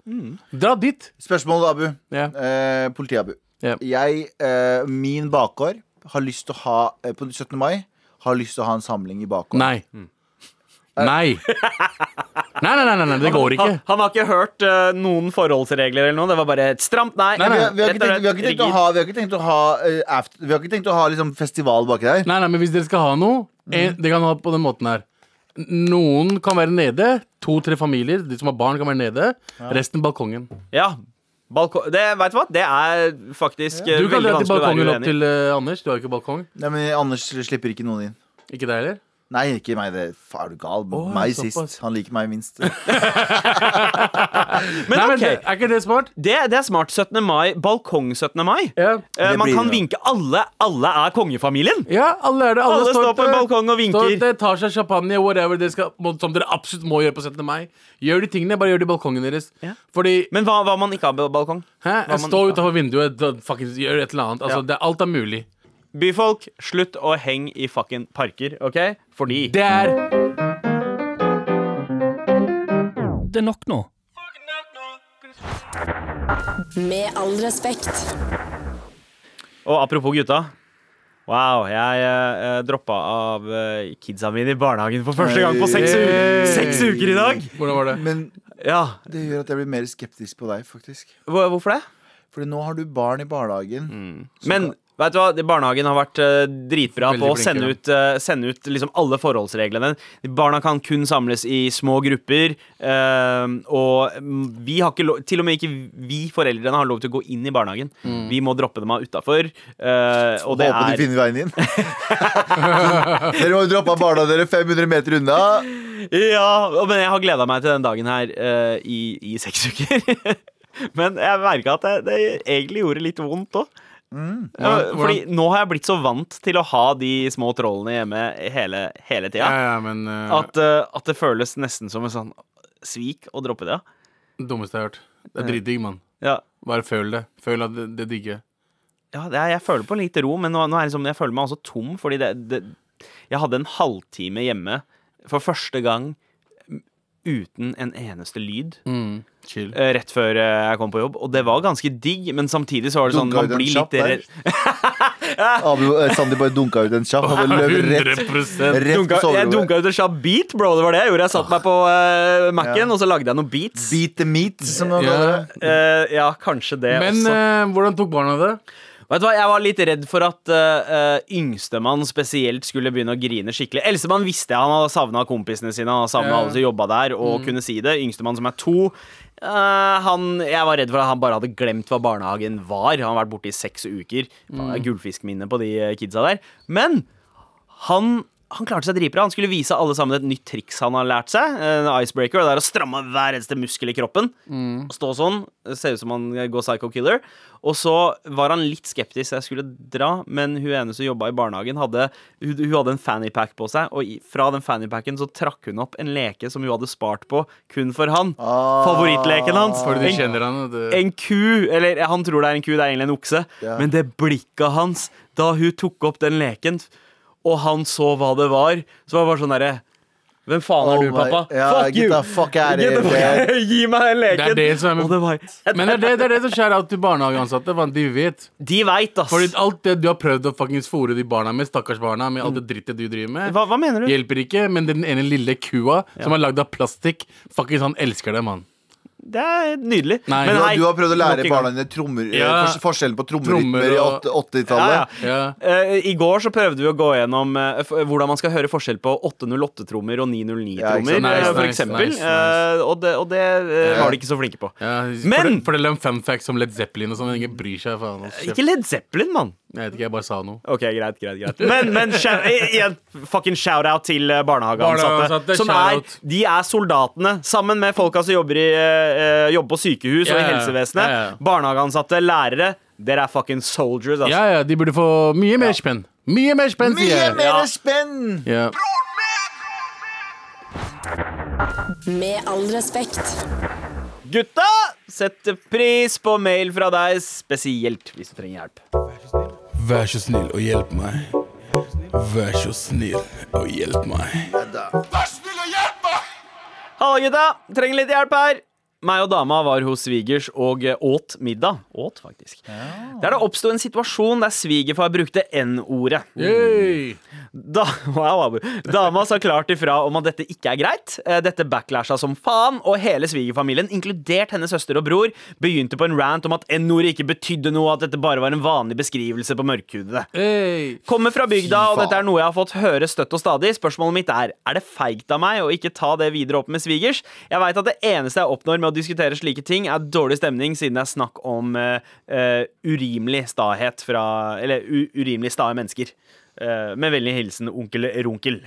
Speaker 4: Dra dit.
Speaker 3: Spørsmål, Abu.
Speaker 4: Ja.
Speaker 3: Eh, Politi-Abu.
Speaker 4: Ja.
Speaker 3: Jeg, eh, min bakgård, har lyst til å ha eh, På 17. mai har lyst til å ha en samling i bakgård.
Speaker 4: Nei.
Speaker 2: Mm.
Speaker 4: Eh. Nei. nei. Nei, nei, nei, nei, det går ikke.
Speaker 2: Han, han har ikke hørt eh, noen forholdsregler eller noe. Det var bare et stramt nei.
Speaker 3: Vi har, vi,
Speaker 2: Rett
Speaker 3: har
Speaker 2: og
Speaker 3: ikke tenkt, vi har ikke
Speaker 2: slett
Speaker 3: tenkt å ha, vi har ikke tenkt å ha, eh, after, vi har ikke tenkt å ha liksom, festival baki der.
Speaker 4: Nei, nei, men hvis dere skal ha noe,
Speaker 2: Mm.
Speaker 4: en, det kan ha på den måten her. Noen kan være nede. To-tre familier. De som har barn, kan være nede. Resten balkongen.
Speaker 2: rigid. Ja. Balko det, vet du hva? Det er faktisk eh,
Speaker 4: Du kan
Speaker 2: veldig
Speaker 4: dra
Speaker 2: vanskelig
Speaker 4: til
Speaker 2: å være
Speaker 4: balkongen opp
Speaker 2: uenig i.
Speaker 4: til eh, Anders. Du har jo ikke balkong.
Speaker 3: Nei, men Anders slipper ikke noen inn.
Speaker 4: Ikke deg heller?
Speaker 3: Nei, ikke meg. Det, faen, er du gal?
Speaker 4: Å,
Speaker 3: meg
Speaker 4: såpass.
Speaker 3: sist. Han liker meg minst.
Speaker 2: Men,
Speaker 4: Nei, men
Speaker 2: ok,
Speaker 4: det, Er ikke det smart?
Speaker 2: det, det er smart. 17. mai. Balkong 17. mai.
Speaker 4: Ja.
Speaker 2: Eh,
Speaker 3: Det
Speaker 2: man
Speaker 3: blir
Speaker 2: kan
Speaker 3: det.
Speaker 2: vinke alle. Alle er kongefamilien.
Speaker 4: Ja, alle er det. Alle,
Speaker 2: Alle står på en balkong og vinker.
Speaker 4: Står der, tar seg champagne, whatever dere skal, må- som dere absolutt må gjøre på 17. mai. Gjør de tingene, bare gjør det i balkongen deres.
Speaker 2: Ja.
Speaker 4: Fordi
Speaker 2: Men hva hva om man ikke har balkong?
Speaker 4: hæ,
Speaker 2: Hva man-
Speaker 4: stå utenfor vinduet, da, fucking, gjør et eller annet. Altså,
Speaker 2: Ja.
Speaker 4: det, alt er mulig.
Speaker 2: Byfolk, slutt å henge i fucking parker, OK? Fordi
Speaker 4: Det er
Speaker 5: Det er nok nå.
Speaker 1: Med all respekt.
Speaker 2: Og apropos gutta. Wow, jeg eh, droppa av eh, kidsa mine i barnehagen for første gang på seks, u
Speaker 4: Hey.
Speaker 2: seks uker i dag!
Speaker 4: Hvordan var det?
Speaker 3: Men
Speaker 2: Ja,
Speaker 3: det gjør at jeg blir mer skeptisk på deg, faktisk.
Speaker 2: hvor- Hvorfor det?
Speaker 3: Fordi nå har du barn i barnehagen.
Speaker 2: Mm. Men vet du hva, De- barnehagen har vært eh, dritbra
Speaker 4: Veldig
Speaker 2: på å
Speaker 4: flinke,
Speaker 2: sende
Speaker 4: ja.
Speaker 2: ut, eh, sende ut liksom alle forholdsreglene. Barna kan kun samles i små grupper. eh, og mm, vi har ikke lov, til og med ikke vi foreldrene har lov til å gå inn i barnehagen.
Speaker 4: Mm.
Speaker 2: Vi må droppe dem av utafor. og det
Speaker 3: Håper de
Speaker 2: er
Speaker 3: finner veien inn. dere må droppe av barna dere 500 meter unna.
Speaker 2: Ja, og- men jeg har gleda meg til den dagen her eh, i, i seks uker. men jeg merka at det, det egentlig gjorde litt vondt òg.
Speaker 4: Mm, Hvordan-
Speaker 2: Fordi nå har jeg blitt så vant til å ha de små trollene hjemme hele, hele tida.
Speaker 4: Ja, ja, men eh,
Speaker 2: At, eh, at det føles nesten som en sånn svik å droppe det.
Speaker 4: det Dummeste jeg har hørt. Det er dritdigg, mann.
Speaker 2: Ja,
Speaker 4: Bare føl det. Føl at det, det digger.
Speaker 2: ja det er, Jeg føler på litt ro, men nå, nå er det som, jeg føler meg også tom. Fordi det, det, jeg hadde en halvtime hjemme for første gang m, uten en eneste lyd.
Speaker 4: Mm. Chill.
Speaker 2: eh, Rett før eh, jeg kom på jobb, og det var ganske digg, men samtidig så var det sånn
Speaker 3: Dunka
Speaker 2: Man
Speaker 3: ut en
Speaker 2: blir
Speaker 3: kjapp
Speaker 2: litt
Speaker 3: der.
Speaker 2: redd.
Speaker 3: Abu, eh, Sandeep bare dunka ut en kjapp. Han bare løp rett,
Speaker 4: 100
Speaker 3: rett
Speaker 2: Dunka,
Speaker 3: på
Speaker 2: jeg
Speaker 3: soverommet.
Speaker 2: dunka ut en kjapp beat, bro. Det var det jeg gjorde. Jeg satte meg på eh, Mac-en, og så lagde jeg noen beats.
Speaker 3: Beat the meat, som man
Speaker 4: Ja.
Speaker 3: kaller det.
Speaker 2: Eh, ja, kanskje det
Speaker 4: Men
Speaker 2: også.
Speaker 4: eh, hvordan tok barna det?
Speaker 2: Vet du hva, Jeg var litt redd for at eh, eh, yngstemann spesielt skulle begynne å grine skikkelig. Eldstemann visste jeg han hadde savna kompisene sine Han savna
Speaker 4: Ja.
Speaker 2: alle som jobba der, og kunne si det. Yngstemann som er to eh, han, Jeg var redd for at han bare hadde glemt hva barnehagen var. Han har vært borte i seks uker. Mm. Gullfiskminne på de eh, kidsa der. Men han han klarte seg dritbra. Han skulle vise alle sammen et nytt triks han har lært seg. En icebreaker, og det er å stramme hver eneste muskel i kroppen.
Speaker 4: Mm.
Speaker 2: Stå sånn. Se ut som han går psycho killer. Og så var han litt skeptisk så jeg skulle dra, men hun ene som jobba i barnehagen, hadde, hun, hun hadde en fannypack på seg, og i, fra den fannypacken så trakk hun opp en leke som hun hadde spart på kun for han.
Speaker 3: Ah.
Speaker 2: Favorittleken hans.
Speaker 4: Fordi
Speaker 2: En-
Speaker 4: de kjenner han. at det-
Speaker 2: en ku, eller han tror det er en ku, det er egentlig en okse.
Speaker 3: Ja.
Speaker 2: Men det blikket hans da hun tok opp den leken, og han så hva det var, så var det bare sånn derre Hvem faen er
Speaker 3: Oh
Speaker 2: du,
Speaker 3: my-
Speaker 2: pappa?
Speaker 3: Ja,
Speaker 2: fuck
Speaker 3: get
Speaker 2: you!
Speaker 3: the fuck out of
Speaker 2: Get the fuck
Speaker 3: here.
Speaker 2: out. Gi meg den leken!
Speaker 4: Det er det som er-
Speaker 2: Og det var,
Speaker 4: Men det er det, det er det som skjer out til barnehageansatte. faen, De vet.
Speaker 2: de veit, ass.
Speaker 4: Fordi alt det du har prøvd å fuckings fôre de barna med, stakkars barna, med alt det drittet du driver med,
Speaker 2: Mm. hva, hva mener du?
Speaker 4: hjelper ikke. Men den ene lille kua som er lagd av plastikk, fuckings han elsker det, mann.
Speaker 2: Det er nydelig.
Speaker 4: Nei.
Speaker 2: Men
Speaker 4: Du
Speaker 3: Du,
Speaker 2: hei,
Speaker 3: du har prøvd å lære
Speaker 2: nok en gang.
Speaker 3: barna dine trommer, eh,
Speaker 4: Ja.
Speaker 3: fors- forskjellen på
Speaker 4: Trommer
Speaker 3: trommerytmer i
Speaker 4: og-
Speaker 3: åtte- 80-tallet.
Speaker 2: Ja, ja.
Speaker 4: Ja.
Speaker 2: Eh, I går så prøvde vi å gå gjennom eh, f- hvordan man skal høre forskjell på 808-trommer og
Speaker 3: Ja, ikke
Speaker 2: 909-trommer,
Speaker 3: sant.
Speaker 4: Nice,
Speaker 2: for
Speaker 4: nice,
Speaker 2: eksempel.
Speaker 4: nice, nice.
Speaker 2: Eh, og det, og det eh, var de ikke så flinke på.
Speaker 4: Ja,
Speaker 2: Men-
Speaker 4: Fortell fortell dem fun facts om Led Zeppelin og sånn. Ingen bryr seg. Faen, ass.
Speaker 2: Ikke Led Zeppelin, mann.
Speaker 4: jeg vet ikke, jeg bare sa noe.
Speaker 2: Ok, greit, greit, greit Men, men shout, i- igjen, fucking shout-out til eh, barnehageansatte.
Speaker 4: Barnehageansatte,
Speaker 2: Som er,
Speaker 4: shout-out.
Speaker 2: de er soldatene, sammen med folka som jobber, i, eh, eh, jobber på sykehus og
Speaker 4: Ja,
Speaker 2: i
Speaker 4: ja,
Speaker 2: helsevesenet.
Speaker 4: ja, ja.
Speaker 2: Barnehageansatte, lærere. Dere er fucking soldiers, altså.
Speaker 4: Ja, ja, de burde få mye mer spenn. Mye mer spenn,
Speaker 3: Mye
Speaker 4: sier jeg.
Speaker 3: mer
Speaker 2: Ja.
Speaker 3: spenn!
Speaker 4: Ja.
Speaker 1: Med all respekt.
Speaker 2: Gutta, Setter pris på mail fra deg, spesielt hvis du trenger hjelp.
Speaker 4: Vær så snill og hjelp meg. Vær så snill og hjelp meg.
Speaker 2: Halla, gutta! Trenger litt hjelp her. Meg og dama var hos svigers og eh, åt middag. Åt, faktisk. Der det oppsto en situasjon der svigerfar brukte N-ordet.
Speaker 4: Yay!
Speaker 2: Da, wow, Abu. Dama sa klart ifra om at dette ikke er greit. Eh, Dette backlasha som faen, og hele svigerfamilien, inkludert hennes søster og bror, begynte på en rant om at N-ordet ikke betydde noe, at dette bare var en vanlig beskrivelse på mørkhudede.
Speaker 4: Hey.
Speaker 2: Kommer fra bygda, og
Speaker 3: Fy faen.
Speaker 2: dette er noe jeg har fått høre støtt og stadig. Spørsmålet mitt er er det feigt av meg å ikke ta det videre opp med svigers. Jeg veit at det eneste jeg oppnår med å diskutere slike ting, er dårlig stemning, siden det er snakk om eh, eh, urimelig stahet fra Eller u urimelig stae mennesker. Eh, med vennlig hilsen onkel Runkel.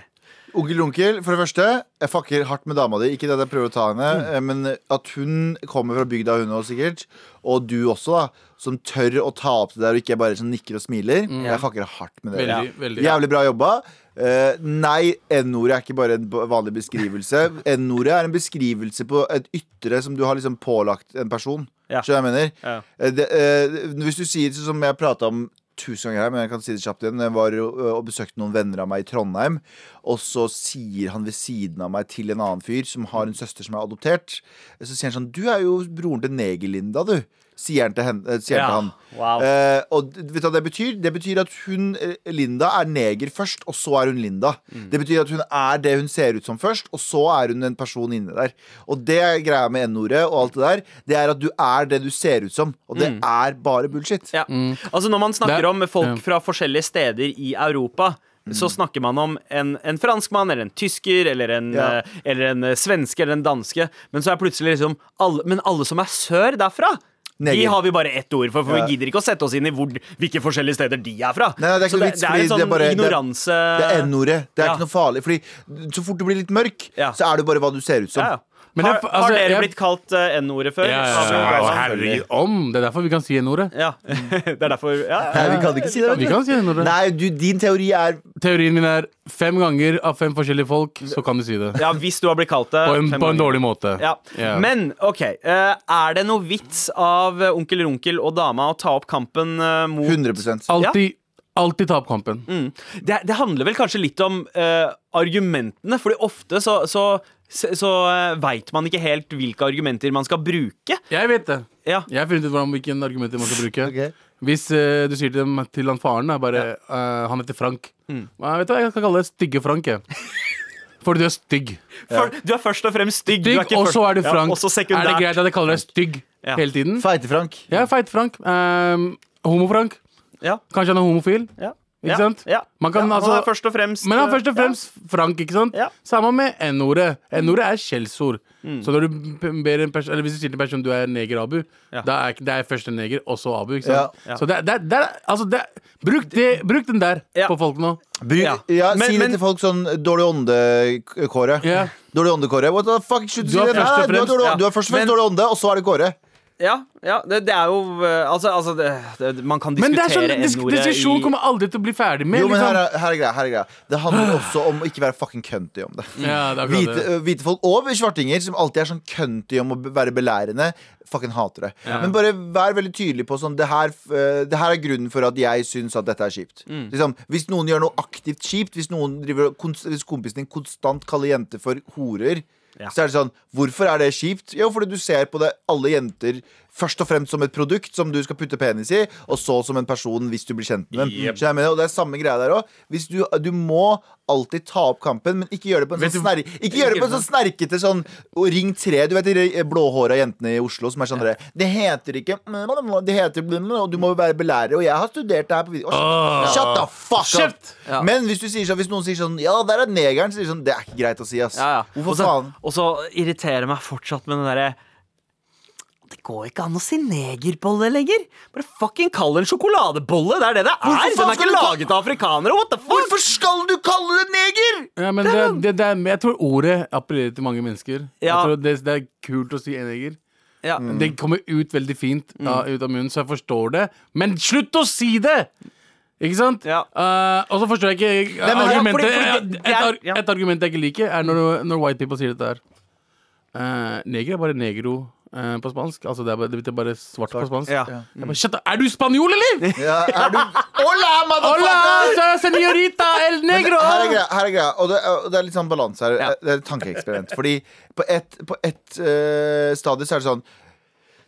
Speaker 3: Onkel Onkel, for det første, jeg fucker hardt med dama di. Ikke det at jeg prøver å ta henne, eh, men at hun kommer fra bygda, hun også sikkert, og du også, da, som tør å ta opp det der og ikke bare sånn nikker og smiler. Jeg fucker hardt med det.
Speaker 4: Veldig, veldig.
Speaker 3: Jævlig bra jobba. Eh, nei, N-ordet er ikke bare en b- vanlig beskrivelse. N-ordet er en beskrivelse på et ytre som du har liksom pålagt en person.
Speaker 2: Ja.
Speaker 3: Skjønner du hva jeg mener?
Speaker 2: Ja.
Speaker 3: Eh, det, eh, hvis du sier sånn som jeg prata om tusen ganger her, men jeg kan si det kjapt igjen. Jeg var jo, eh, og besøkte noen venner av meg i Trondheim, og så sier han ved siden av meg til en annen fyr som har en søster som er adoptert, så sier han sånn Du er jo broren til Negerlinda, du. Sier han til, hen, eh, sier
Speaker 2: Ja,
Speaker 3: han til han.
Speaker 2: wow.
Speaker 3: Eh, og d- vet du hva det betyr? Det betyr at hun, eh, Linda, er neger først, og så er hun Linda.
Speaker 2: Mm.
Speaker 3: Det betyr at hun er det hun ser ut som først, og så er hun en person inni der. Og det er greia med N-ordet og alt det der, det er at du er det du ser ut som, og det er bare bullshit.
Speaker 2: Mm. Ja. Altså Når man snakker
Speaker 4: Det-
Speaker 2: om folk
Speaker 4: ja.
Speaker 2: fra forskjellige steder i Europa
Speaker 3: Mm.
Speaker 2: så snakker man om en, en franskmann eller en tysker eller en,
Speaker 3: Ja.
Speaker 2: eh, eller en eh, svenske eller en danske. Men så er plutselig liksom alle, Men alle som er sør derfra, de
Speaker 3: Neger.
Speaker 2: har vi bare ett ord for. For
Speaker 3: Ja.
Speaker 2: vi gidder ikke å sette oss inn i hvor, hvilke forskjellige steder de er fra.
Speaker 3: Nei, nei, det er ikke
Speaker 2: så
Speaker 3: noe
Speaker 2: det,
Speaker 3: vits,
Speaker 2: det
Speaker 3: fordi
Speaker 2: er en
Speaker 3: det
Speaker 2: sånn
Speaker 3: er bare- det er-
Speaker 2: ignoranse
Speaker 3: Det er N-ordet. Det er
Speaker 2: Ja.
Speaker 3: ikke noe farlig. Fordi så fort du blir litt mørk,
Speaker 2: Ja.
Speaker 3: så er du bare hva du ser ut som.
Speaker 2: Ja, ja.
Speaker 4: Men
Speaker 2: Har,
Speaker 4: jeg- altså,
Speaker 2: har dere
Speaker 4: jeg-
Speaker 2: blitt kalt eh, N-ordet før?
Speaker 4: Ja,
Speaker 2: Abu
Speaker 4: ja,
Speaker 2: Gaza?
Speaker 4: ja, herregud, om! Det er derfor vi kan si N-ordet.
Speaker 2: Ja. Det er derfor ja, ja.
Speaker 3: Nei, vi kan ikke si det. vet
Speaker 4: Vi
Speaker 3: du.
Speaker 4: kan si N-ordet.
Speaker 3: Nei, du, din teori er
Speaker 4: Teorien min er fem ganger av fem forskjellige folk, så kan du si det.
Speaker 2: ja, hvis du har blitt kalt det.
Speaker 4: På en,
Speaker 2: fem
Speaker 4: på en
Speaker 2: ganger.
Speaker 4: dårlig måte.
Speaker 2: Ja.
Speaker 4: Ja.
Speaker 2: Men OK, eh, er det noe vits av eh, onkel Runkel og dama å ta opp kampen eh, mot
Speaker 3: 100
Speaker 4: Alltid alltid ta opp kampen.
Speaker 2: Mm. det, det handler vel kanskje litt om eh, argumentene, fordi ofte så, så så, så veit man ikke helt hvilke argumenter man skal bruke.
Speaker 4: Jeg vet det.
Speaker 2: Ja.
Speaker 4: Jeg har funnet ut hvordan, hvilken argumenter man skal bruke.
Speaker 3: Ok.
Speaker 4: Hvis eh, du sier til, dem, til han faren da, bare, eh, Han heter Frank.
Speaker 2: Mm.
Speaker 4: Nei, vet du hva, Jeg skal kalle deg Stygge Frank. Jeg. For du er stygg.
Speaker 2: For, du er først og fremst stygg.
Speaker 4: Stygg,
Speaker 2: du er ikke
Speaker 4: og
Speaker 2: først-
Speaker 4: så er du
Speaker 2: Ja,
Speaker 4: Frank.
Speaker 2: og så
Speaker 4: er det
Speaker 2: sekundært.
Speaker 4: greit at jeg kaller deg stygg
Speaker 2: Ja.
Speaker 4: hele tiden?
Speaker 3: Feite-Frank.
Speaker 4: Jeg er feit Frank. Ehm, homo-Frank.
Speaker 2: Ja.
Speaker 4: Kanskje han er homofil.
Speaker 2: Ja.
Speaker 4: Ikke
Speaker 2: ja.
Speaker 4: sant?
Speaker 2: Ja.
Speaker 4: Man kan
Speaker 2: ja,
Speaker 4: altså-
Speaker 2: han er først og fremst eh,
Speaker 4: Men han er først og fremst Frank, ikke sant?
Speaker 2: Ja. Mm.
Speaker 4: Samme med N-ordet. N-ordet er skjellsord. Så når du p- ber en person, eller hvis du sier til en person du er neger Abu,
Speaker 2: Ja.
Speaker 4: da er ikke- det er først en neger, og så Abu. ikke sant?
Speaker 3: Ja.
Speaker 2: Ja.
Speaker 4: Så det, er- det, er- det er altså det, er- bruk, det, bruk den der
Speaker 2: Ja.
Speaker 4: på folk nå.
Speaker 3: Bry, ja.
Speaker 2: Ja. Men-
Speaker 3: si det
Speaker 2: men-
Speaker 3: til folk sånn dårlig ånde-kåre.
Speaker 4: Ja.
Speaker 3: Dårlig ånde-kåre. What the fuck? Slutt å
Speaker 4: Du
Speaker 3: si
Speaker 4: har
Speaker 3: det. Nei,
Speaker 4: først og
Speaker 3: nei, Du har
Speaker 4: fremst-
Speaker 3: dårlig
Speaker 2: ja.
Speaker 3: ånde, du har først og fremst
Speaker 2: Men-
Speaker 3: dårlig ånde, og så er det kåre.
Speaker 2: Ja, ja det, det er jo eh, Altså, altså det, det, man kan
Speaker 4: Men det
Speaker 2: diskutere
Speaker 4: er sånn, dis
Speaker 2: N-ordet
Speaker 4: diskusjon
Speaker 2: i-
Speaker 4: kommer aldri til å bli ferdig med.
Speaker 3: Jo, men her
Speaker 4: liksom.
Speaker 3: er, her er greia. Her er greia. Det handler også om å ikke være fucking cunty om det.
Speaker 4: liksom. Ja, det er akkurat
Speaker 3: Hvite,
Speaker 4: det.
Speaker 3: ø, hvite folk og svartinger som alltid er sånn cunty om å be- være belærende, fucking hater det. Men bare vær veldig tydelig på sånn det her, f- ø, det her er grunnen for at jeg syns at dette er kjipt.
Speaker 4: Mm.
Speaker 3: Liksom, hvis noen gjør noe aktivt kjipt, hvis, noen driver, og konst- hvis kompisen din konstant kaller jenter for horer
Speaker 2: Ja.
Speaker 3: Så er det sånn, Hvorfor er det kjipt? Jo, fordi du ser på det alle jenter først og fremst som et produkt som du skal putte penis i, og så som en person hvis du blir kjent med dem.
Speaker 2: Yep.
Speaker 3: Så jeg mener, og det er samme greia der òg. Du, du må alltid ta opp kampen, men ikke gjøre det på en
Speaker 4: Vet
Speaker 3: sånn
Speaker 4: du-
Speaker 3: snerri... Ikke gjøre det på en sånn snerkete sånn og Ring 3. Du vet de blåhåra jentene i Oslo som er sånn der, Det heter ikke Det heter Og du må være belærer. Og jeg har studert det her på video. Åh, Shut the fuck up!
Speaker 4: Ah. Kjeft!
Speaker 2: Ja.
Speaker 3: Men hvis, du sier sånn, hvis noen sier sånn Ja, der er negeren, så sier du sånn Det er ikke greit å si, ass.
Speaker 2: Ja, ja.
Speaker 3: Hvorfor
Speaker 2: og så,
Speaker 3: faen?
Speaker 2: Og så irriterer jeg meg fortsatt med den derre Det går ikke an å si negerbolle lenger. Bare fucking kall det en sjokoladebolle. Det er det det
Speaker 3: Hvorfor
Speaker 2: er. Den
Speaker 3: faen
Speaker 2: er ikke
Speaker 3: skal du ta-
Speaker 2: laget av afrikanere. What the fuck?
Speaker 3: Hvorfor skal du kalle det neger?!
Speaker 4: Ja, men det, er- det, det er, jeg tror ordet appellerer til mange mennesker.
Speaker 2: sånn- Ja.
Speaker 4: Jeg tror det, det er kult å si en neger.
Speaker 2: Ja.
Speaker 3: Mm.
Speaker 4: Det kommer ut veldig fint da,
Speaker 2: Mm.
Speaker 4: ut av munnen, så jeg forstår det. Men slutt å si det! Ikke sant?
Speaker 2: Ja.
Speaker 4: Eh, og så forstår jeg ikke eh,
Speaker 2: men-
Speaker 4: argumentet.
Speaker 2: Ja, fordi- fordi det-
Speaker 4: et, ar
Speaker 2: ja.
Speaker 4: et argument jeg ikke liker, er når, når white people sier dette her. Eh, neger er bare negro. eh, på spansk. Altså det er bare, det betyr bare svart, på spansk.
Speaker 2: Ja. Mm.
Speaker 4: Jeg bare, Shut up, er du spanjol, eller?!
Speaker 3: Ja, er du Hola, motherfucker!
Speaker 4: Hola, senorita
Speaker 3: Men
Speaker 4: el
Speaker 3: det-
Speaker 4: negro!
Speaker 3: Her er greia. Her er greia. Og, det, er- og det er litt sånn balanse her.
Speaker 2: Ja.
Speaker 3: Det er et tankeeksperiment. Fordi på ett på et, eh, stadie så er det sånn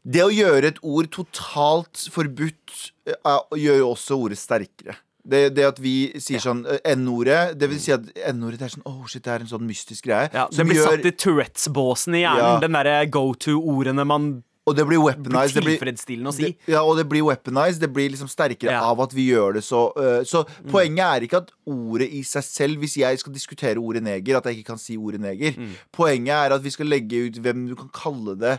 Speaker 3: Det å gjøre et ord totalt forbudt eh, er- gjør jo også ordet sterkere. Det, det at vi sier sånn eh, N-ordet Det vil si at N-ordet det er sånn Åh, shit, det er en sånn mystisk greie.
Speaker 2: Ja, det
Speaker 3: som
Speaker 2: blir
Speaker 3: gjør-
Speaker 2: satt i Tourettes-båsen i hjernen.
Speaker 3: Ja.
Speaker 2: Den derre go to-ordene man
Speaker 3: og det blir
Speaker 2: blir
Speaker 3: weaponized. Det blir,
Speaker 2: tilfredsstillende å si.
Speaker 3: det, ja, og det blir weaponized. Det blir liksom sterkere
Speaker 2: Ja.
Speaker 3: av at vi gjør det så øh, Så poenget er ikke at ordet i seg selv Hvis jeg skal diskutere ordet neger, at jeg ikke kan si ordet neger.
Speaker 2: Mm.
Speaker 3: Poenget er at vi skal legge ut hvem du kan kalle det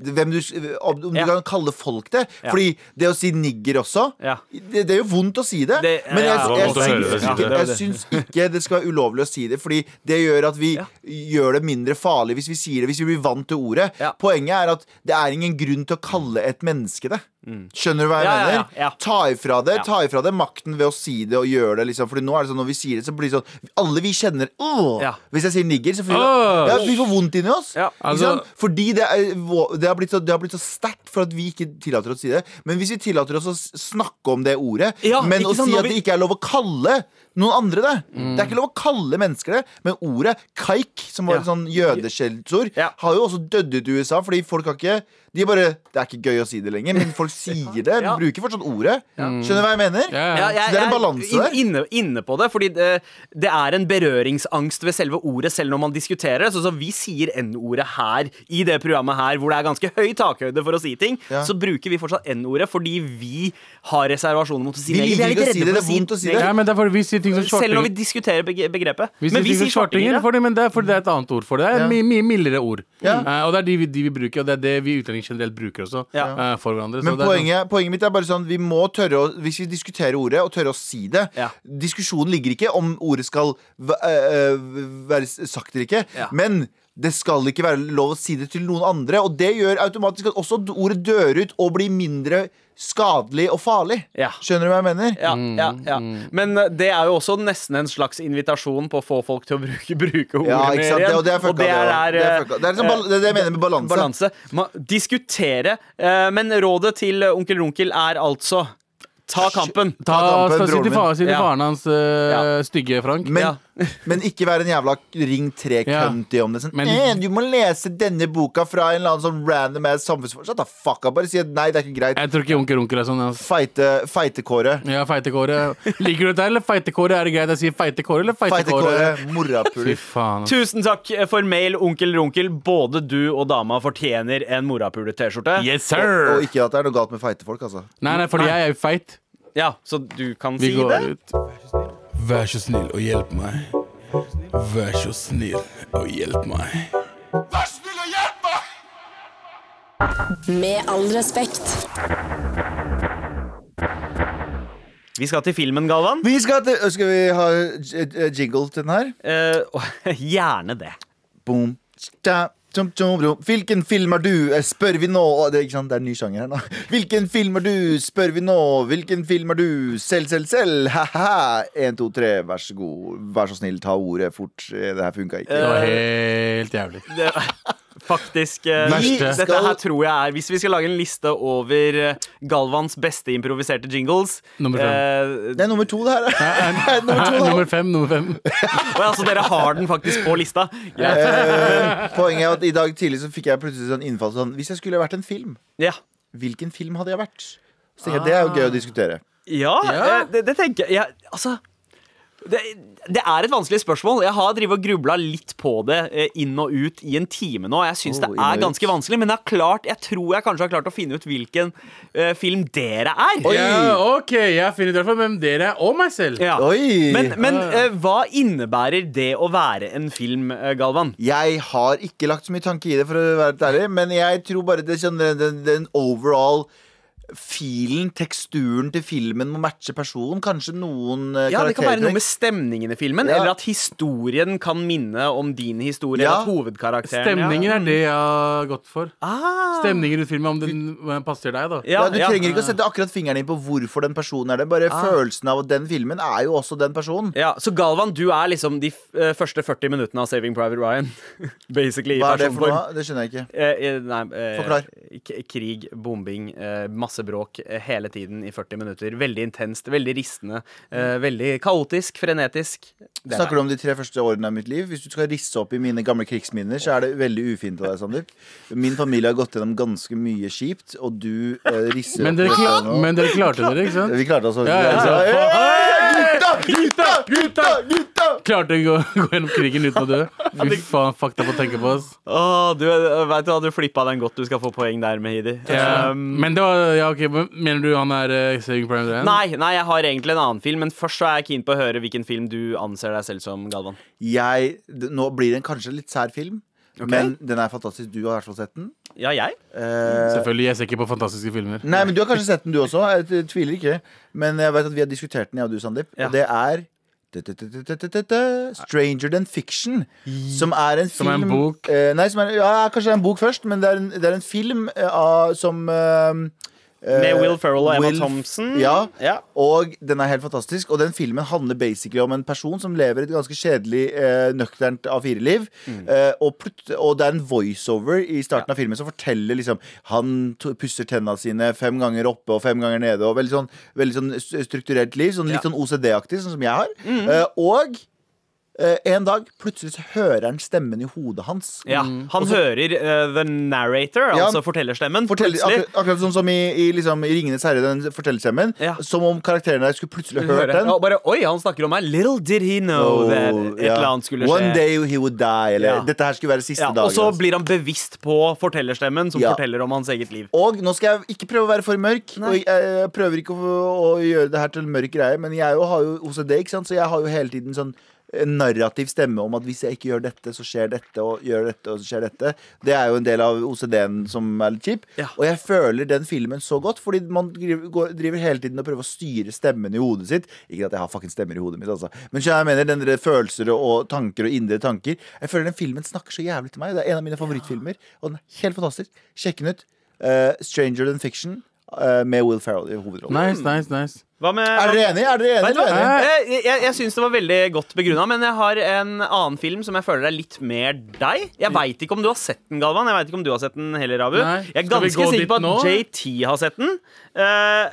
Speaker 3: hvem du, om om du
Speaker 2: Ja.
Speaker 3: kan kalle folk det.
Speaker 2: Ja.
Speaker 3: Fordi det å si nigger også
Speaker 2: Ja.
Speaker 3: det, det er jo vondt å si det,
Speaker 2: Det-
Speaker 3: men jeg,
Speaker 2: ja,
Speaker 4: det var
Speaker 3: jeg,
Speaker 4: vondt å høre deg
Speaker 3: syns
Speaker 4: si
Speaker 3: ikke,
Speaker 2: det.
Speaker 3: jeg syns ikke det skal være ulovlig å si det. Fordi det gjør at vi
Speaker 2: Ja.
Speaker 3: gjør det mindre farlig hvis vi sier det, hvis vi blir vant til ordet.
Speaker 2: Ja.
Speaker 3: Poenget er at det er ingen grunn til å kalle et menneske det. Skjønner du hva
Speaker 2: Mm.
Speaker 3: jeg
Speaker 2: Ja, ja,
Speaker 3: mener?
Speaker 2: ja, ja.
Speaker 3: Ta ifra det
Speaker 2: Ja.
Speaker 3: ta ifra det makten ved å si det og gjøre det. Liksom. Fordi nå er det sånn, når vi sier det, så blir det sånn Alle vi kjenner Åh!
Speaker 2: Ja.
Speaker 3: Hvis jeg sier nigger, så får vi,
Speaker 4: Åh!
Speaker 3: ja, vi får vondt inni oss.
Speaker 2: Ja.
Speaker 3: Ikke
Speaker 4: Altså-
Speaker 3: sant? Fordi det, er, det, har blitt så, det har blitt så sterkt for at vi ikke tillater oss å si det. Men hvis vi tillater oss å s- snakke om det ordet,
Speaker 2: Ja,
Speaker 3: men
Speaker 2: ikke
Speaker 3: å
Speaker 2: sant?
Speaker 3: si
Speaker 2: Når
Speaker 3: at
Speaker 2: vi-
Speaker 3: det ikke er lov å kalle noen andre det.
Speaker 4: Mm.
Speaker 3: Det er ikke lov å kalle mennesker det, men ordet kaik, som var et
Speaker 2: Ja.
Speaker 3: sånn jødeskjellsord,
Speaker 2: Ja.
Speaker 3: har jo også dødd ut i USA, fordi folk har ikke De bare Det er ikke gøy å si det lenger, men folk sier det.
Speaker 2: Ja.
Speaker 3: Bruker fortsatt ordet. Skjønner du hva jeg mener?
Speaker 4: Ja,
Speaker 2: Ja,
Speaker 3: Så det er en balanse der.
Speaker 2: inn- Inne, inne på det, fordi det, det er en berøringsangst ved selve ordet, selv når man diskuterer det. Sånn som vi sier N-ordet her, i det programmet her, hvor det er ganske høy takhøyde for å si ting,
Speaker 3: Ja.
Speaker 2: så bruker vi fortsatt N-ordet fordi vi har reservasjoner mot å si Vi
Speaker 3: Vi
Speaker 2: er
Speaker 3: liker
Speaker 2: litt
Speaker 3: ikke å si
Speaker 2: redde
Speaker 3: det,
Speaker 2: for
Speaker 3: det er vondt å si det.
Speaker 4: Ja, men det er fordi vi sier ting som
Speaker 2: Selv når vi
Speaker 4: svartinger.
Speaker 2: diskuterer begre- begrepet.
Speaker 4: Vi sier ting som svartinger,
Speaker 2: ja.
Speaker 4: for det, men det er fordi det er et annet ord for det. Det er
Speaker 3: Ja.
Speaker 4: et mye, mye mildere ord.
Speaker 3: Ja.
Speaker 4: Eh, og det er de vi, de vi bruker, og det er det vi utlendinger generelt bruker også.
Speaker 2: Ja.
Speaker 4: eh, for hverandre.
Speaker 3: Men
Speaker 4: så det er
Speaker 3: poenget,
Speaker 4: sånn-
Speaker 3: poenget mitt er bare sånn Vi må tørre å, hvis vi diskuterer ordet Og tørre å si det
Speaker 2: Ja.
Speaker 3: Diskusjonen ligger ikke om ordet skal v- eh, eh, Være s- sagt eller ikke
Speaker 2: Ja.
Speaker 3: Men det skal ikke være lov å si det til noen andre Og det gjør automatisk at også d- ordet dør ut Og blir mindre skadelig og farlig
Speaker 2: Ja.
Speaker 3: Skjønner du hva jeg mener?
Speaker 2: Ja, ja, ja. Men eh, det er jo også nesten en slags invitasjon på å få folk til å bruke, bruke ordene
Speaker 3: Ja, ikke
Speaker 2: mer
Speaker 3: sant? Det,
Speaker 2: igjen.
Speaker 3: og det er fucka.
Speaker 2: Og det er,
Speaker 3: også. det,
Speaker 2: eh,
Speaker 3: er fucka. det, er liksom bal- det er det jeg mener med balanse.
Speaker 2: balanse. Ma- Diskutere. Eh, Men rådet til onkel Runkel er altså ta kampen.
Speaker 3: Ta
Speaker 4: Ta,
Speaker 3: kampen,
Speaker 4: ta, si
Speaker 3: broren
Speaker 4: til,
Speaker 3: min.
Speaker 4: fa, si til
Speaker 2: Ja.
Speaker 4: faren hans, eh,
Speaker 2: Ja.
Speaker 4: stygge Frank.
Speaker 3: Men,
Speaker 2: Ja.
Speaker 3: men ikke være en jævla ring tre
Speaker 4: Ja.
Speaker 3: kønti om det. Sånn,
Speaker 4: Men-
Speaker 3: eh, du må lese denne boka fra en eller annen sånn random ass samfunnsforsker. Shut the fuck up. Bare si at nei, det er ikke greit.
Speaker 4: Jeg tror ikke onkel Runkel er sånn. ass.
Speaker 3: Feite- Feitekåre.
Speaker 4: Ja, feitekåre. Liker du dette, eller feitekåre? Er det greit jeg sier feitekåre, eller feitekåre?
Speaker 3: Feitekåre.
Speaker 4: Fy
Speaker 3: Morapuler.
Speaker 4: faen. altså. ass.
Speaker 2: Tusen takk for mail, onkel Runkel. Både du og dama fortjener en morapule-T-skjorte.
Speaker 4: Yes,
Speaker 3: Og
Speaker 4: sir!
Speaker 3: ikke at det er noe galt med feitefolk, altså.
Speaker 4: Nei, nei, fordi jeg er jo feit.
Speaker 2: Ja, så du kan
Speaker 4: Vi
Speaker 2: si det.
Speaker 4: går ut.
Speaker 6: Vær så snill og hjelp meg. Vær så snill og hjelp meg.
Speaker 1: Med all respekt.
Speaker 2: Vi skal til filmen, Galvan.
Speaker 3: Vi skal, til, skal vi ha j- j- jingle til den her?
Speaker 2: Eh, og- gjerne det.
Speaker 3: Boom. Da, tum, tum, tum. Hvilken film er du? eh, Spør vi nå Å, det, er ikke sant? det er en ny sjanger her nå. Hvilken film er du? Spør vi nå. Hvilken film er du? Selv, selv, selv. Ha-ha. Én, to, tre, vær så god. Vær så snill, ta ordet fort. Eh, Det her funka ikke.
Speaker 4: Det var helt jævlig.
Speaker 2: det faktisk eh,
Speaker 4: Verste.
Speaker 2: vi- Dette her
Speaker 3: Skal-
Speaker 2: tror jeg er Hvis vi skal lage en liste over eh, Galvans beste improviserte jingles eh,
Speaker 4: Nummer
Speaker 2: fem.
Speaker 3: Det er nummer to, det her. Det er nummer to, det her.
Speaker 4: Nummer fem, nummer fem.
Speaker 2: altså, dere har den faktisk på lista. Greit.
Speaker 3: Eh, Poenget er at i dag tidlig så fikk jeg plutselig sånn innfall sånn Hvis jeg skulle vært en film,
Speaker 2: Ja.
Speaker 3: hvilken film hadde jeg vært? Så tenker jeg, Det er jo gøy å diskutere.
Speaker 2: Ja,
Speaker 4: Ja.
Speaker 2: eh, Det, det tenker jeg. jeg altså det, det er et vanskelig spørsmål. Jeg har drivet og grubla litt på det eh, inn og ut i en time nå. og Jeg syns
Speaker 3: Oh,
Speaker 2: det
Speaker 3: inn og
Speaker 2: er
Speaker 3: ut.
Speaker 2: ganske vanskelig, men jeg, har klart, jeg tror jeg kanskje har klart å finne ut hvilken eh, film dere er.
Speaker 3: Oi.
Speaker 4: Ja, OK, jeg finner ut i hvert fall hvem dere er, og meg selv.
Speaker 2: Ja.
Speaker 3: Oi!
Speaker 2: Men, men eh, hva innebærer det å være en film, eh, Galvan?
Speaker 3: Jeg har ikke lagt så mye tanke i det, for å være helt ærlig, men jeg tror bare det sånn den, den, den overall filen, teksturen til filmen må matche personen. Kanskje noen eh,
Speaker 2: Ja, Det kan være noe med
Speaker 3: karaktertrekk.
Speaker 2: stemningen i filmen,
Speaker 3: Ja.
Speaker 2: eller at historien kan minne om din historie.
Speaker 3: Ja.
Speaker 2: Eller at hovedkarakteren
Speaker 4: Stemningen
Speaker 2: ja.
Speaker 4: er det jeg har gått for.
Speaker 2: Ah.
Speaker 4: Stemningen i filmen, om den eh, passer deg, da.
Speaker 3: Ja, du
Speaker 2: Mm.
Speaker 3: trenger ikke å sette akkurat fingeren inn på hvorfor den personen er det. Bare
Speaker 2: Ah.
Speaker 3: følelsen av at den filmen er jo også den personen.
Speaker 2: Ja, Så Galvan, du er liksom de f- eh, første 40 minuttene av Saving Private Ryan. Basically i
Speaker 3: Hva er det for
Speaker 2: personform.
Speaker 3: noe? Det skjønner jeg ikke.
Speaker 2: Eh, eh, nei, eh,
Speaker 3: Forklar.
Speaker 2: k- Krig, bombing, eh, masse bråk eh, hele tiden i 40 minutter. Veldig intenst, veldig ristende. Eh, veldig kaotisk, frenetisk. Det er
Speaker 3: Snakker du om de tre første årene av mitt liv? Hvis du skal risse opp i mine gamle krigsminner, så er det veldig ufint av deg, Sandeep. Min familie har gått gjennom ganske mye kjipt, og du eh, risser
Speaker 4: Men dere,
Speaker 3: opp
Speaker 4: kla
Speaker 3: nå.
Speaker 4: men deg klarte dere, ikke sant?
Speaker 3: Vi klarte oss.
Speaker 4: Ja, ja, ja.
Speaker 3: Så- Gutta, gutta, gutta, gutta!
Speaker 4: Klarte å gå, gå gjennom krigen uten å dø. Fy faen, fakta på å tenke på. Oss.
Speaker 2: Åh, du eh, vet du hva, du flippa den godt. Du skal få poeng der, Mehidi.
Speaker 4: Ja.
Speaker 2: Um,
Speaker 4: Men det var ja, ok, men Mener du han er eh, Saving Private Ryan?
Speaker 2: Nei, nei, jeg har egentlig en annen film, men først så er jeg keen på å høre hvilken film du anser deg selv som, Galvan.
Speaker 3: Jeg, d- nå blir det en kanskje litt sær film, men den er fantastisk. Du har i hvert fall sett den.
Speaker 2: Ja, jeg?
Speaker 3: Eh,
Speaker 4: Selvfølgelig. Jeg ser ikke på fantastiske filmer.
Speaker 3: nei, men Du har kanskje sett den, du også. Jeg t- tviler ikke. Men jeg vet at vi har diskutert den, jeg og du, Sandeep.
Speaker 2: Ja.
Speaker 3: Og det er t-t-t-t-t-t-t-t, Stranger Than Fiction. Som er en film
Speaker 4: Som er en bok.
Speaker 3: eh, nei, som er, ja, kanskje det er en bok først, men det er en, det er en film eh, av, som eh, eh,
Speaker 2: Med Will Ferrell og Emma
Speaker 3: Will-
Speaker 2: Thompson.
Speaker 3: Ja,
Speaker 2: Ja.
Speaker 3: Og den er helt fantastisk. Og den filmen handler basically om en person som lever et ganske kjedelig, eh, nøkternt A4-liv.
Speaker 2: Mm.
Speaker 3: Eh, og, plut- og det er en voiceover i starten av filmen som forteller liksom Han to- pusser tenna sine fem ganger oppe og fem ganger nede. Og veldig sånn, veldig sånn s- strukturert liv. Sånn, litt
Speaker 2: Ja. Mm.
Speaker 3: sånn OCD-aktig, sånn som jeg har. Eh, og eh, en dag plutselig så hører han stemmen i hodet hans.
Speaker 2: Ja, Han hører eh, The Narrator,
Speaker 3: Mm. Ja.
Speaker 2: altså fortellerstemmen.
Speaker 3: Fortell,
Speaker 2: plutselig.
Speaker 3: akkurat, akkurat sånn som i, i, liksom, i Ringenes herre, den fortellerstemmen.
Speaker 2: Ja.
Speaker 3: Som om karakteren der skulle plutselig
Speaker 2: Hører
Speaker 3: hørt den.
Speaker 2: Og bare, Oi, han snakker om meg! Little did he know that Oh, et
Speaker 3: Oh, ja.
Speaker 2: eller annet skulle skje.
Speaker 3: One day he would die, eller
Speaker 2: Ja.
Speaker 3: dette her skulle være siste
Speaker 2: ja,
Speaker 3: dagen. altså.
Speaker 2: og så
Speaker 3: hans.
Speaker 2: blir han bevisst på fortellerstemmen, som
Speaker 3: Ja.
Speaker 2: forteller om hans eget liv.
Speaker 3: og nå skal jeg ikke prøve å være for mørk,
Speaker 2: Nei.
Speaker 3: og jeg, jeg prøver ikke å, å gjøre det her til en mørk greie, men jeg jo har jo OCD, ikke sant? så jeg har jo hele tiden sånn en narrativ stemme om at hvis jeg ikke gjør dette, så skjer dette, og gjør dette, og så skjer dette. Det er jo en del av OCD-en som er litt kjip.
Speaker 2: Ja.
Speaker 3: Og jeg føler den filmen så godt, fordi man driver, går, driver hele tiden og prøver å styre stemmen i hodet sitt. Ikke at jeg har fucking stemmer i hodet mitt, altså. Men så jeg mener den der følelser og tanker og indre tanker. Jeg føler den filmen snakker så jævlig til meg. Det er en av mine favorittfilmer, og den er helt fantastisk. Sjekk den ut. Eh, Stranger Than Fiction eh, med Will Ferrell i hovedrollen.
Speaker 4: Nice, nice, nice.
Speaker 2: Hva med
Speaker 3: Er dere enige? Er dere enige?
Speaker 2: Vet du hva?
Speaker 3: Er dere enige?
Speaker 2: Eh, Jeg, jeg, jeg syns det var veldig godt begrunna, men jeg har en annen film som jeg føler er litt mer deg. Jeg veit ikke om du har sett den, Galvan. Jeg vet ikke om du har sett den heller, Abu.
Speaker 4: Nei.
Speaker 2: Jeg er
Speaker 4: Skal vi
Speaker 2: ganske
Speaker 4: gå
Speaker 2: sikker på at
Speaker 4: dit nå?
Speaker 2: JT har sett den. Eh,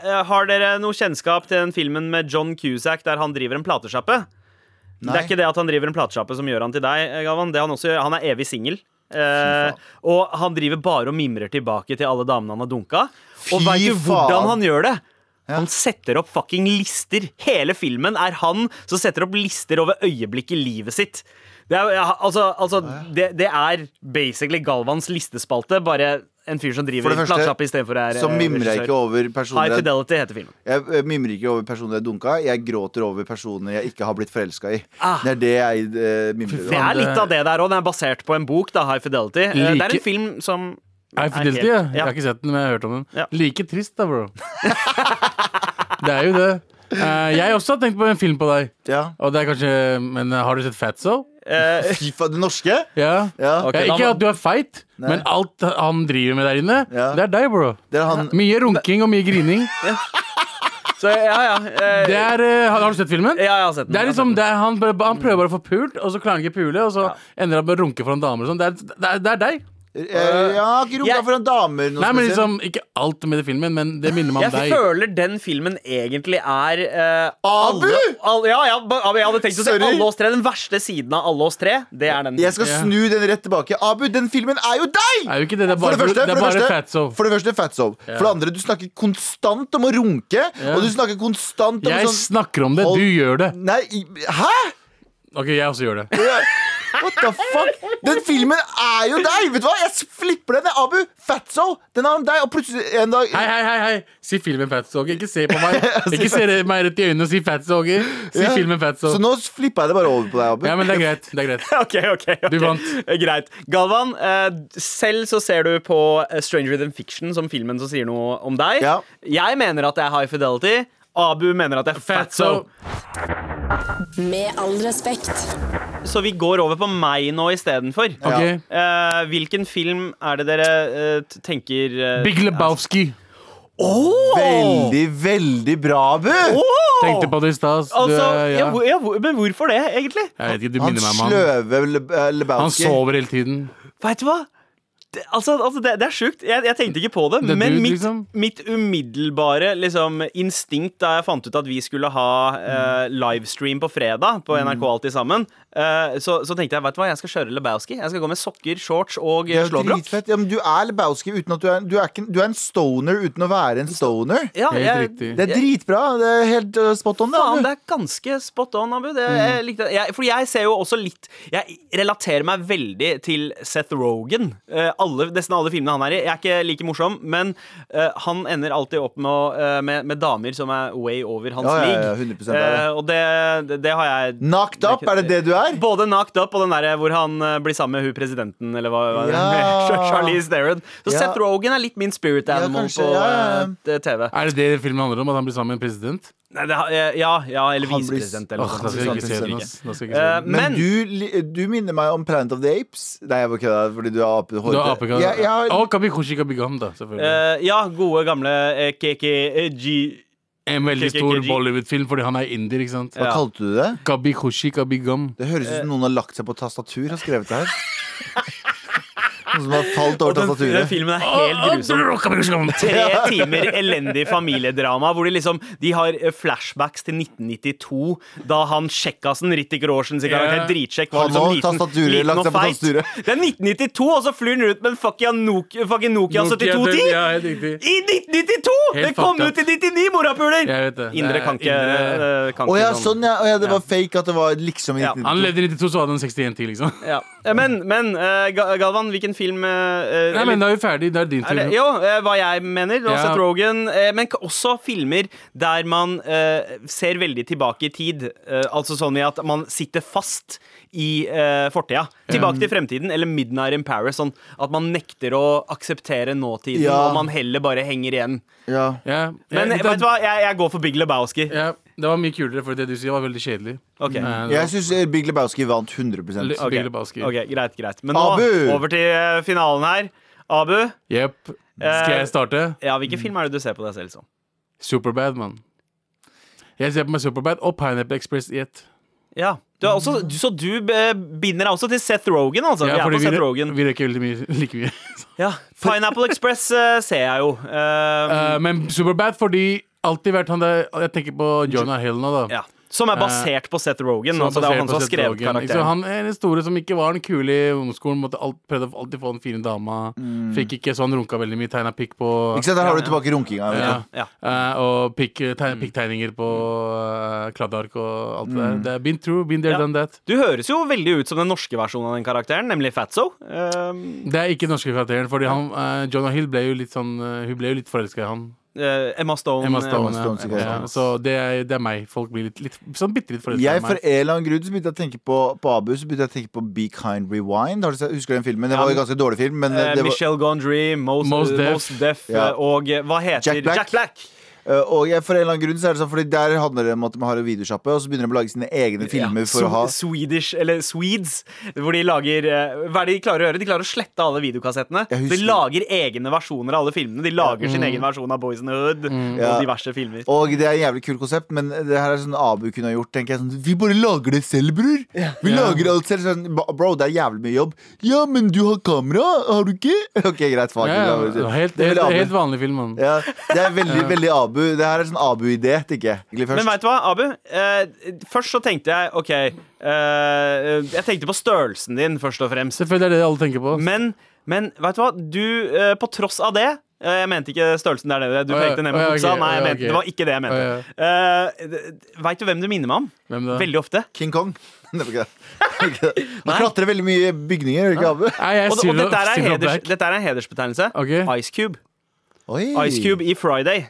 Speaker 2: eh, har dere noe kjennskap til den filmen med John Cusack der han driver en platesjappe? Det
Speaker 3: Nei.
Speaker 2: er ikke det at han driver en platesjappe som gjør han til deg, eh, Galvan. Det er han, også, gjør. han er evig singel. Eh, og han driver bare og mimrer tilbake til alle damene han har dunka. Og
Speaker 3: Fy
Speaker 2: veit du
Speaker 3: faen.
Speaker 2: hvordan han gjør det? Han setter opp fucking lister. Hele filmen er han som setter opp lister over øyeblikk i livet sitt. Det er, ja, altså, altså, det, det er basically Galvans listespalte, bare en fyr som driver
Speaker 3: For det første,
Speaker 2: platesjappe istedenfor er
Speaker 3: Så mimrer jeg ikke over
Speaker 2: eh, High
Speaker 3: personer jeg
Speaker 2: Fidelity heter filmen.
Speaker 3: Jeg eh, mimrer ikke over personer jeg dunka. Jeg gråter over personer jeg ikke har blitt forelska i.
Speaker 2: Ah.
Speaker 3: Det er det jeg eh, mimrer
Speaker 4: Fy
Speaker 3: over.
Speaker 2: Det
Speaker 4: faen,
Speaker 2: er litt
Speaker 4: det-
Speaker 2: av det der òg. Den er basert på en bok, da, High Fidelity. Eh, Det er
Speaker 4: Like-
Speaker 2: en film som
Speaker 4: High Fidelity,
Speaker 2: helt-
Speaker 4: ja.
Speaker 2: ja.
Speaker 4: Jeg har ikke sett den, men jeg har hørt om den.
Speaker 2: Ja.
Speaker 4: Like trist, da, bro. det er jo det. Eh, jeg også har tenkt på en film på deg.
Speaker 3: Ja.
Speaker 4: Og det er kanskje, Men eh, har du sett Fatso?
Speaker 2: eh,
Speaker 3: Fy faen, det norske?
Speaker 4: Ja.
Speaker 3: Ja.
Speaker 2: Ok.
Speaker 4: Ja,
Speaker 2: da
Speaker 4: ikke
Speaker 2: må-
Speaker 4: at du er feit, men alt han driver med der inne,
Speaker 3: Ja.
Speaker 4: det er deg, bro.
Speaker 3: Det er han
Speaker 4: Mye runking og mye grining.
Speaker 2: Så ja, ja. eh,
Speaker 4: Det er, eh, har har du sett filmen?
Speaker 2: ja, jeg har sett den.
Speaker 4: Det er
Speaker 2: Jeg har sett den.
Speaker 4: liksom, det er, han, prø- han prøver bare å få pult, og så klarer han ikke pule, og så ender han med å runke foran damer. og sånn. Det, er- det, er- det er deg.
Speaker 3: eh, Ja, ikke runka
Speaker 2: Jeg-
Speaker 3: foran damer. noe
Speaker 4: Nei, men
Speaker 3: spesielt.
Speaker 4: liksom, Ikke alt med det filmen, men det minner meg om
Speaker 2: Jeg
Speaker 4: deg.
Speaker 2: føler den filmen egentlig er eh,
Speaker 3: Abu!
Speaker 2: alle- all- ja, ja, ba- Abu, jeg hadde tenkt å si
Speaker 3: Sorry.
Speaker 2: alle oss tre. Den verste siden av alle oss tre, det er den.
Speaker 3: Jeg skal
Speaker 4: liksom- Ja.
Speaker 3: snu den rett tilbake. Abu, den filmen er jo deg!
Speaker 4: Er jo ikke det, det er
Speaker 3: For
Speaker 4: bare,
Speaker 3: det første,
Speaker 4: det er
Speaker 3: for det
Speaker 4: bare
Speaker 3: første,
Speaker 4: fatso.
Speaker 3: for det første fatso. For det andre, du snakker konstant om å runke. Og du snakker konstant om
Speaker 4: Jeg
Speaker 3: sånn
Speaker 4: snakker om det,
Speaker 3: Hold-
Speaker 4: du gjør det.
Speaker 3: Nei, i- hæ?!
Speaker 4: Ok, jeg også gjør det.
Speaker 3: What the fuck? Den filmen er jo deg! Vet du hva? Jeg flipper den. Det er Abu. Fatso. Den er om deg. Og plutselig en dag
Speaker 4: Hei, hei, hei, hei. Si filmen Fatsoggy. Ikke se på meg. Ikke se det- meg rett i øynene og si Fatsoggy. Si
Speaker 3: Ja.
Speaker 4: filmen
Speaker 3: Så
Speaker 4: Fatsoggy.
Speaker 3: nå flippa jeg det bare over på deg, Abu.
Speaker 4: Ja, men det er greit. Det er greit.
Speaker 2: Ok, ok, ok.
Speaker 4: Du vant.
Speaker 2: Greit. Galvan, eh, selv så ser du på eh, Stranger Than Fiction som filmen som sier noe om deg.
Speaker 3: Ja.
Speaker 2: Jeg mener at jeg er High Fidelity. Abu mener at jeg er Fatso.
Speaker 4: Fatso.
Speaker 1: Med all respekt.
Speaker 2: Så vi går over på meg nå istedenfor.
Speaker 4: Ok.
Speaker 2: Eh, hvilken film er det dere eh, t- tenker eh,
Speaker 4: Big Lebowski.
Speaker 3: Veldig, veldig bra, Abu.
Speaker 2: Åh!
Speaker 4: Tenkte på det i stad. så du
Speaker 2: Altså,
Speaker 4: er-
Speaker 2: ja.
Speaker 4: ja.
Speaker 2: hvor, ja, hvor, men hvorfor det, egentlig?
Speaker 4: Jeg vet ikke, du
Speaker 3: Han
Speaker 4: minner meg om han.
Speaker 3: sløve Le- eh,
Speaker 4: Han
Speaker 3: Lebowski.
Speaker 4: sover hele tiden.
Speaker 2: Veit du hva? Det, altså, altså, det, det er sjukt. Jeg, jeg tenkte ikke på det.
Speaker 4: Det er
Speaker 2: men
Speaker 4: du,
Speaker 2: mitt,
Speaker 4: liksom.
Speaker 2: mitt umiddelbare liksom, instinkt da jeg fant ut at vi skulle ha eh, livestream på fredag på NRK Alltid sammen, eh, så, så tenkte jeg vet du hva, jeg skal kjøre Lebowski. Jeg skal gå med sokker, shorts og
Speaker 3: Det
Speaker 2: eh,
Speaker 3: er jo
Speaker 2: slåbrok.
Speaker 3: dritfett. Ja, men du er Lebowski uten at du er, du, er ikke, du er en stoner uten å være en stoner.
Speaker 2: Ja,
Speaker 4: Helt
Speaker 2: jeg-
Speaker 4: riktig.
Speaker 3: Det er dritbra. Det er helt eh, spot on. det,
Speaker 2: Faen,
Speaker 3: Abu.
Speaker 2: det er ganske spot on, Abu. Det,
Speaker 3: Mm.
Speaker 2: jeg likte det. Jeg, fordi jeg ser jo også litt Jeg relaterer meg veldig til Seth Rogan. Eh, alle, nesten alle filmene han er i. Jeg er ikke like morsom, men eh, han ender alltid opp med, å, eh, med, med damer som er way over hans
Speaker 3: Ja, ja, ja,
Speaker 2: league.
Speaker 3: 100% er det.
Speaker 2: Eh, og det, det, det har jeg
Speaker 3: Knocked up, er det det du er?
Speaker 2: både knocked up og den der hvor han eh, blir sammen med hun presidenten, eller hva, hva
Speaker 3: Ja.
Speaker 2: Charlize Theron. Så
Speaker 3: Ja.
Speaker 2: Seth Rogan er litt min spirit
Speaker 3: Ja,
Speaker 2: animal
Speaker 3: kanskje,
Speaker 2: på
Speaker 3: ja,
Speaker 2: eh, TV.
Speaker 4: Er det det filmen handler om? At han blir sammen med en president?
Speaker 2: Nei, det, har- eh, ja, ja, eller
Speaker 3: Han blir- sånn
Speaker 2: visepresident, eller
Speaker 4: Åh,
Speaker 2: noe
Speaker 4: da skal jeg ikke se den,
Speaker 3: president.
Speaker 4: ass. Da skal jeg ikke se
Speaker 2: Eh,
Speaker 4: den.
Speaker 3: Men,
Speaker 2: men
Speaker 3: du, li- du minner meg om Planet of the Apes. Nei, jeg var ikke det, fordi du er ape.
Speaker 4: Du
Speaker 3: hårete.
Speaker 4: har apekatt.
Speaker 3: Jeg- jeg har-
Speaker 4: Og Kabikoshi Kabigam, da. Selvfølgelig.
Speaker 2: Eh, ja, gode gamle eh, KK eh, G...
Speaker 4: En veldig
Speaker 2: KKK.
Speaker 4: stor Bollywood-film fordi han er indier, ikke sant?
Speaker 3: Hva
Speaker 2: Ja.
Speaker 3: kalte du det?
Speaker 4: Kabikoshi Kabigam.
Speaker 3: Det høres ut som noen har lagt seg på tastatur og skrevet det her. Noen som har falt
Speaker 2: Og
Speaker 3: over
Speaker 2: den, den
Speaker 3: tastaturet.
Speaker 2: filmen er
Speaker 4: Ah,
Speaker 2: helt grusom. Tre timer elendig familiedrama hvor de liksom De har eh, flashbacks til 1992, da han kjekkasen Rittik Rorsen sin karakter
Speaker 4: Ja.
Speaker 2: dritsjekk var
Speaker 3: Han
Speaker 2: liksom
Speaker 3: har
Speaker 2: liten,
Speaker 3: tastaturet,
Speaker 2: liten
Speaker 3: lagt
Speaker 2: og
Speaker 3: seg på
Speaker 2: feit.
Speaker 3: tastaturet.
Speaker 2: Det er 1992, og så flyr han ut med en fucking Nokia, fucking Nokia 7210!
Speaker 4: Ja, helt riktig.
Speaker 2: I 1992!
Speaker 4: Helt
Speaker 2: det kom
Speaker 4: fucked
Speaker 2: ut i 99, morapuler!
Speaker 4: Jeg vet det. Det
Speaker 2: Indre
Speaker 4: er
Speaker 2: kan ikke
Speaker 4: indre-
Speaker 2: eh, kan
Speaker 3: Å
Speaker 2: ikke
Speaker 3: ja,
Speaker 2: sånn.
Speaker 3: sånn, ja. Å, ja. Det var fake at det var liksom i
Speaker 2: Ja.
Speaker 3: 1992.
Speaker 4: Han levde i 92, så hadde han 61 til, liksom.
Speaker 2: Ja. Eh, Men, men eh, Ga- Galvan, hvilken film eh, eh,
Speaker 4: Nei,
Speaker 2: eller-
Speaker 4: men da er vi ferdig. Det er din tur.
Speaker 2: Er det, jo, eh, hva jeg mener. Og
Speaker 4: Ja.
Speaker 2: Seth Rogen. eh, Men k- også filmer der man eh, ser veldig tilbake i tid. eh, altså sånn i at man sitter fast i eh, fortida. Tilbake til fremtiden, eller Midnight in Paris. Sånn at man nekter å akseptere nåtiden,
Speaker 3: Ja.
Speaker 2: og man heller bare henger igjen.
Speaker 3: Ja.
Speaker 4: Ja, ja,
Speaker 2: Men
Speaker 4: det,
Speaker 2: vet du hva, jeg, jeg går for Big Lebowski.
Speaker 4: Ja, det var mye kulere, for det du sier var veldig kjedelig. Eh,
Speaker 2: Ok.
Speaker 4: Nei,
Speaker 3: Jeg syns Big Lebowski vant 100
Speaker 4: L-
Speaker 2: Ok,
Speaker 4: Big Lebowski.
Speaker 2: ok, Greit, greit. Men nå
Speaker 3: Abu!
Speaker 2: over til eh, finalen her. Abu,
Speaker 4: Jepp. Skal
Speaker 2: Eh,
Speaker 4: jeg starte?
Speaker 2: ja,
Speaker 4: Mm.
Speaker 2: hvilken film er det du ser på deg selv som?
Speaker 4: Superbad, mann. Jeg ser på meg Superbad og Pineapple Express i ett.
Speaker 2: Ja. Du er også, du, så du eh, binder deg også til Seth Rogen, altså?
Speaker 4: Ja,
Speaker 2: vi er
Speaker 4: fordi
Speaker 2: på Seth
Speaker 4: rø-
Speaker 2: Rogen.
Speaker 4: vi røyker veldig mye like mye.
Speaker 2: Ja, Pineapple Express eh, ser jeg jo. Eh,
Speaker 4: Eh, men Superbad fordi alltid vært han der Jeg tenker på Jonah Hill nå, da.
Speaker 2: ja. Som er basert på Seth Rogan. Altså, det er jo han som har skrevet
Speaker 4: Så
Speaker 2: karakteren.
Speaker 4: han er den store som ikke var den kule i ungdomsskolen. Måtte alt, prøvde å alltid få den fine dama.
Speaker 2: Mm.
Speaker 4: Fikk ikke, så han runka veldig mye. Tegna pikk på
Speaker 3: Ikke sant, Der har du tilbake runkinga. vet du.
Speaker 4: Ja.
Speaker 2: Ja. Mm.
Speaker 4: Eh, og pikk- teg- pikktegninger på eh, kladdark og alt det der. Det er been true, been there,
Speaker 2: Mm. Ja.
Speaker 4: done that.
Speaker 2: Du høres jo veldig ut som den norske versjonen av den karakteren, nemlig Fatso. Eh,
Speaker 4: Det er ikke den norske karakteren, fordi han, eh, Jonah Hill ble jo litt sånn eh, Hun ble jo litt forelska i han.
Speaker 2: eh, Emma Stone.
Speaker 4: Emma
Speaker 2: eh,
Speaker 4: Stone.
Speaker 3: Stone, sikkert.
Speaker 4: ja. Ja, så det er, det er meg. Folk blir litt, litt sånn bitte litt forelska i
Speaker 3: Jeg for
Speaker 4: meg.
Speaker 3: en eller annen grunn så begynte jeg å tenke på, på Abu Så begynte jeg å tenke på Be Kind Rewind. Har du sett, husker du den filmen? Det
Speaker 2: Ja,
Speaker 3: var
Speaker 2: men-
Speaker 3: en ganske dårlig film. Men
Speaker 2: eh,
Speaker 3: det var,
Speaker 2: Michelle Gondry, Most,
Speaker 4: Mos
Speaker 2: eh,
Speaker 4: Def.
Speaker 2: Mos Def, eh,
Speaker 3: Ja.
Speaker 2: og eh, hva heter
Speaker 3: Jack Black. Eh, og jeg, for en eller annen grunn så er det sånn Fordi der handler det om at man har en videosjappe, og så begynner de å lage sine egne filmer.
Speaker 2: Ja,
Speaker 3: for å ha
Speaker 2: Sw- Swedish, eller Swedes, hvor de lager eh, Hva er det de klarer å gjøre? De klarer å slette alle videokassettene.
Speaker 3: Jeg
Speaker 2: Så
Speaker 3: husker-
Speaker 2: de lager egne versjoner av alle filmene. De lager sin egen versjon av Boys in the Hood og
Speaker 3: Ja.
Speaker 2: diverse filmer.
Speaker 3: Og det er et jævlig kult konsept, men det her er sånn Abu kunne ha gjort. tenker jeg sånn, Vi bare lager det selv, bror! Vi lager alt selv. Sånn, ba- bro, det er jævlig mye jobb. Ja, men du har kamera, har du ikke? Ok, greit, fuck.
Speaker 4: Ja,
Speaker 3: det
Speaker 4: ja,
Speaker 3: er-
Speaker 4: helt,
Speaker 3: det er
Speaker 4: helt,
Speaker 3: veldig Abu.
Speaker 4: helt vanlig film, mann.
Speaker 3: Ja, det er veldig, veldig Abu. Det her er sånn Abu-idé, tenker jeg. Egentlig først.
Speaker 2: Men veit du hva, Abu? Eh, først så tenkte jeg OK eh, Jeg tenkte på størrelsen din, først og fremst.
Speaker 4: Selvfølgelig er det det alle tenker på.
Speaker 2: Men, men vet du hva? Du, eh, på tross av det eh, jeg mente ikke størrelsen der nede. Du
Speaker 4: Å, ja.
Speaker 2: pekte ned med
Speaker 4: Å, ja,
Speaker 2: buksa.
Speaker 4: ok.
Speaker 2: Nei, jeg
Speaker 4: Å, ja,
Speaker 2: mente, Eh,
Speaker 4: ok.
Speaker 2: det var ikke det jeg mente.
Speaker 4: Å,
Speaker 2: Uh, Veit du hvem du minner meg om?
Speaker 4: Hvem da?
Speaker 2: Veldig ofte.
Speaker 3: King Kong. Det var ikke det. Det var ikke det. Man klatrer veldig mye i bygninger, gjør ikke Abu?
Speaker 4: Nei, jeg
Speaker 2: Og, og
Speaker 4: sier
Speaker 2: dette, er en
Speaker 4: sier
Speaker 2: heders,
Speaker 4: back.
Speaker 2: dette er en hedersbetegnelse.
Speaker 4: Ok.
Speaker 2: Ice Cube.
Speaker 3: Oi.
Speaker 2: Ice Cube i Friday.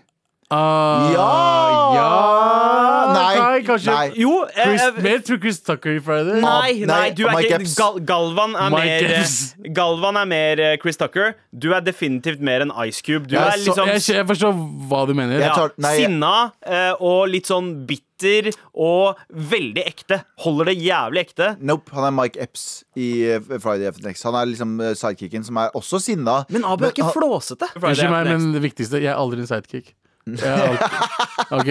Speaker 4: Ah,
Speaker 3: Ja!
Speaker 4: ja.
Speaker 3: Nei.
Speaker 4: kanskje
Speaker 3: Nei.
Speaker 2: Jo, eh,
Speaker 4: Chris,
Speaker 2: eh,
Speaker 4: Men jeg tror Chris Tucker i Friday.
Speaker 2: Nei,
Speaker 3: Nei,
Speaker 2: nei, du er
Speaker 3: Mike
Speaker 2: ikke
Speaker 3: Epps.
Speaker 2: Gal Galvan er
Speaker 4: Mike
Speaker 2: mer eh,
Speaker 4: Epps.
Speaker 2: Galvan er mer eh, Chris Tucker. Du er definitivt mer en Ice Cube. Du
Speaker 4: jeg,
Speaker 2: er
Speaker 4: så,
Speaker 2: liksom
Speaker 4: jeg, jeg forstår hva du mener.
Speaker 3: Jeg tar-
Speaker 2: ja,
Speaker 3: nei, jeg-
Speaker 2: sinna eh, og litt sånn bitter og veldig ekte. Holder det jævlig ekte.
Speaker 3: Nope, han er Mike Epps i eh, Friday After Next. Han er liksom eh, sidekicken som er også sinna.
Speaker 2: Men Abu er ikke
Speaker 3: han-
Speaker 2: flåsete.
Speaker 4: Unnskyld meg, men det viktigste Jeg er aldri en sidekick. Jeg er aldri- OK?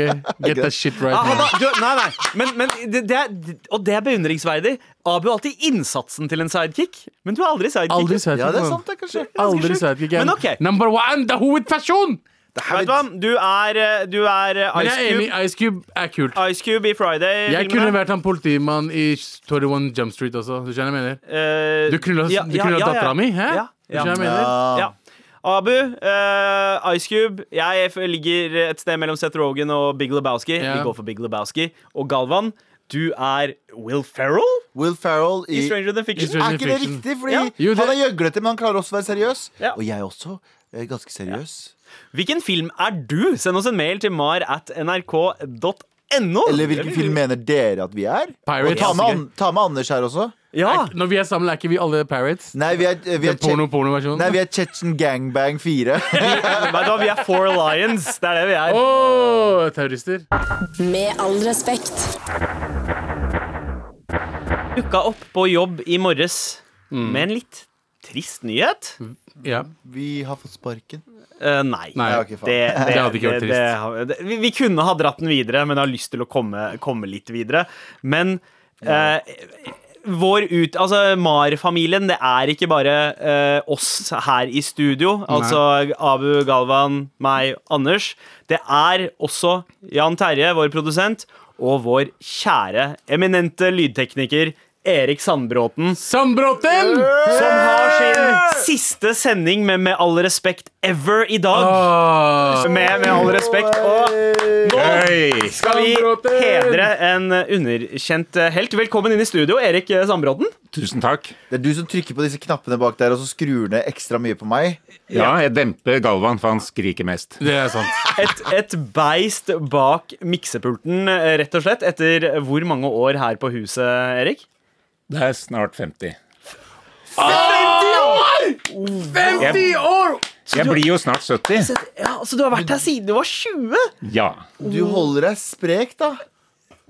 Speaker 4: Get that shit right
Speaker 2: Ja, Ah, han
Speaker 4: now.
Speaker 2: har- du, nei, nei. Men, men det, det er, og det er beundringsverdig. Abu har alltid innsatsen til en sidekick, men du er aldri sidekick.
Speaker 4: Aldri sidekick.
Speaker 3: Ja, det er
Speaker 4: man.
Speaker 3: sant, det, kanskje.
Speaker 4: Aldri
Speaker 2: sjukt.
Speaker 4: sidekick. Jeg er
Speaker 2: Men ok.
Speaker 4: Number one, det er hovedperson!
Speaker 2: Vet du hva? Du er, eh, du er eh,
Speaker 4: Men
Speaker 2: Ice
Speaker 4: jeg er enig,
Speaker 2: Cube.
Speaker 4: Ice Cube er kult.
Speaker 2: Ice Cube i Friday.
Speaker 4: Jeg kunne vært han politimann i 21 Jump Street også. Du skjønner hva jeg mener? Du knulla ja, dattera mi, hæ?
Speaker 2: Eh, Ja,
Speaker 4: Du skjønner hva jeg
Speaker 2: ja.
Speaker 4: mener?
Speaker 2: ja. Abu, eh, Ice Cube Jeg f- ligger et sted mellom Seth Rogen og Big Lebowski.
Speaker 4: Ja.
Speaker 2: Vi går for Big Lebowski. Og Galvan, du er Will Ferrell
Speaker 3: Will Ferrell i
Speaker 2: i Stranger Than Fiction.
Speaker 4: Stranger-
Speaker 3: Er ikke det
Speaker 4: Fiction.
Speaker 3: riktig? Fordi
Speaker 2: Ja.
Speaker 4: Jo, det-
Speaker 3: han er gjøglete, men han klarer også å være seriøs.
Speaker 2: Ja.
Speaker 3: Og jeg er også eh, ganske seriøs.
Speaker 2: Hvilken film er du? Send oss en mail til mar at nrk.no.
Speaker 3: Eller hvilken film mener dere at vi er? Og
Speaker 4: Pirates.
Speaker 3: ta med,
Speaker 4: Ja.
Speaker 3: An ta med Anders her også.
Speaker 2: Ja.
Speaker 4: Er- Når vi er sammen, er ikke vi alle pirates?
Speaker 3: Nei, vi er, eh, vi er,
Speaker 4: Den
Speaker 3: Che-
Speaker 4: porno-porno-versjonen?
Speaker 3: Nei, vi er Chechen Gangbang 4.
Speaker 2: Vet du hva, vi er Four Lions. Det er det vi er.
Speaker 4: Åh, terrorister.
Speaker 1: Med all respekt.
Speaker 2: Dukka opp på jobb i morges
Speaker 4: Mm.
Speaker 2: med en litt trist nyhet.
Speaker 4: Ja.
Speaker 3: vi har fått sparken.
Speaker 2: Eh, nei.
Speaker 4: Mm. Nei.
Speaker 3: Ja, ok, faen.
Speaker 2: Det, det,
Speaker 4: Det hadde ikke vært
Speaker 2: det- det har- det- vi, vi kunne ha dratt den videre, men jeg har lyst til å komme, komme litt videre. Men eh, vår ut... Altså, Mar-familien, det er ikke bare eh, oss her i studio. Altså Abu, Galvan, meg, Anders. Det er også Jan Terje, vår produsent, og vår kjære, eminente lydtekniker Erik Sandbråten
Speaker 4: Sandbråten!
Speaker 2: som har sin siste sending med Med all respekt ever i dag.
Speaker 3: Ah.
Speaker 4: Åh.
Speaker 2: Med, med all respekt. Og nå skal vi
Speaker 4: Sandbråten!
Speaker 2: hedre en underkjent eh, helt. Velkommen inn i studio, Erik eh, Sandbråten.
Speaker 7: Tusen takk.
Speaker 3: Det er du som trykker på disse knappene bak der, og så skrur ned ekstra mye på meg.
Speaker 7: Ja, jeg demper Galvan, for han skriker mest.
Speaker 4: Det er sant.
Speaker 2: Et, et beist bak miksepulten, eh, rett og slett, etter hvor mange år her på huset, Erik?
Speaker 7: Det er snart 50.
Speaker 4: 50 år!
Speaker 7: Jeg blir jo snart 70.
Speaker 2: Ja, Så du har vært her siden du var 20?
Speaker 7: Ja.
Speaker 3: Du holder deg sprek, da.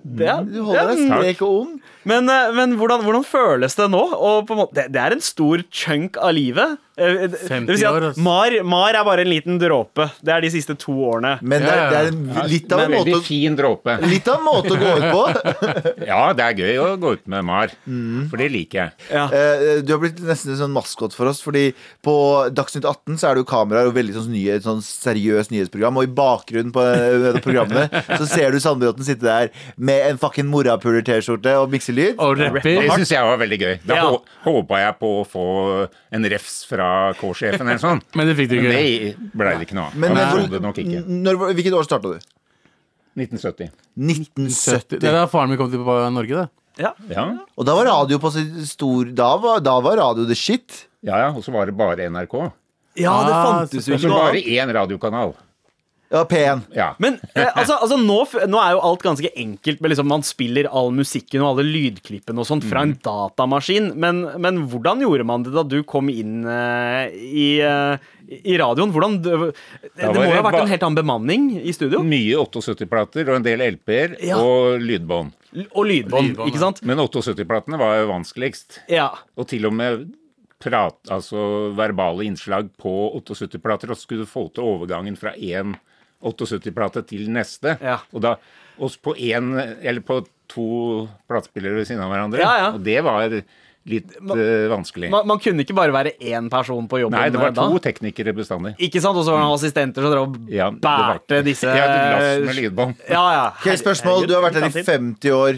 Speaker 2: Ja,
Speaker 3: Du holder deg sprek og ung.
Speaker 2: Men, eh, men hvordan, hvordan føles det nå? Og på en måte, det, det er en stor chunk av livet. Eh, Det, det vil si
Speaker 4: 50 år,
Speaker 2: at
Speaker 4: altså.
Speaker 2: Mar, Mar er bare en liten dråpe. Det er de siste to årene.
Speaker 3: Men det er, det er en, litt, av
Speaker 7: Men
Speaker 3: en måte,
Speaker 7: veldig fin dråpe.
Speaker 3: å- litt av en måte å gå ut på.
Speaker 7: Ja, det er gøy å gå ut med Mar,
Speaker 3: Mm.
Speaker 7: for det liker jeg.
Speaker 2: Ja.
Speaker 3: Eh, Du har blitt nesten en sånn maskot for oss, fordi på Dagsnytt 18 så er det jo kameraer og veldig sånn, nyhet, sånn seriøst nyhetsprogram, og i bakgrunnen på eh, programmene så ser du Sandbråten sitte der med en fucking morapuler-T-skjorte og mikselyd.
Speaker 4: Og rapper.
Speaker 7: Det syns jeg var veldig gøy. Da
Speaker 2: Ja.
Speaker 7: hå- håpa jeg på å få en refs fra K-sjefen eller sånn.
Speaker 4: Men det fikk du ikke.
Speaker 7: Det blei det ikke noe av.
Speaker 3: Men,
Speaker 7: Han
Speaker 3: eh, hvor-
Speaker 7: trodde nok ikke.
Speaker 3: N- Når, hvilket år starta du?
Speaker 7: 1970.
Speaker 3: 1970.
Speaker 4: Det er da faren min kom til Norge, da.
Speaker 2: Ja.
Speaker 7: Ja,
Speaker 3: Og da var radio på sin stor Da var, da var radio the shit.
Speaker 7: ja. ja. Og så var det bare NRK.
Speaker 2: ja, det
Speaker 4: Ah,
Speaker 2: fantes jo
Speaker 7: Og
Speaker 2: ikke
Speaker 7: så
Speaker 2: noe
Speaker 7: bare
Speaker 2: annet.
Speaker 7: én radiokanal.
Speaker 3: Ja, P1.
Speaker 7: Ja.
Speaker 2: Men eh, altså, altså nå, f- nå er jo alt ganske enkelt. Med liksom, man spiller all musikken og alle lydklippene og sånt fra
Speaker 7: Mm.
Speaker 2: en datamaskin. Men, men hvordan gjorde man det da du kom inn eh, i, eh, i radioen? Hvordan, det, det
Speaker 7: var
Speaker 2: må jo
Speaker 7: det
Speaker 2: ha vært
Speaker 7: ba- Mm.
Speaker 2: en helt annen bemanning i studio?
Speaker 7: Mye 78-plater og en del LP-er
Speaker 2: Ja.
Speaker 7: og lydbånd.
Speaker 2: Og lydbånd,
Speaker 4: Lydbånd,
Speaker 2: ikke sant?
Speaker 7: Men 78-platene var jo vanskeligst.
Speaker 2: Ja.
Speaker 7: Og til og med prat, altså verbale innslag på 78-plater, og så skulle du få til overgangen fra én 78-plate til neste.
Speaker 2: Ja.
Speaker 7: Og da og på én Eller på to platespillere ved siden av hverandre.
Speaker 2: Ja, ja.
Speaker 7: Og det var litt eh, vanskelig.
Speaker 2: Man, man kunne ikke bare være én person på jobben
Speaker 7: Nei, det var
Speaker 2: da.
Speaker 7: to teknikere bestandig.
Speaker 2: Ikke sant? Og så var det noen assistenter som drev og
Speaker 7: Ja, det var-
Speaker 2: bærte disse eh,
Speaker 7: Ja, et lass med lydbånd.
Speaker 2: Ja, ja.
Speaker 3: Ok, spørsmål.
Speaker 2: Herregud,
Speaker 3: Du har vært her i
Speaker 2: fantasi.
Speaker 3: 50 år.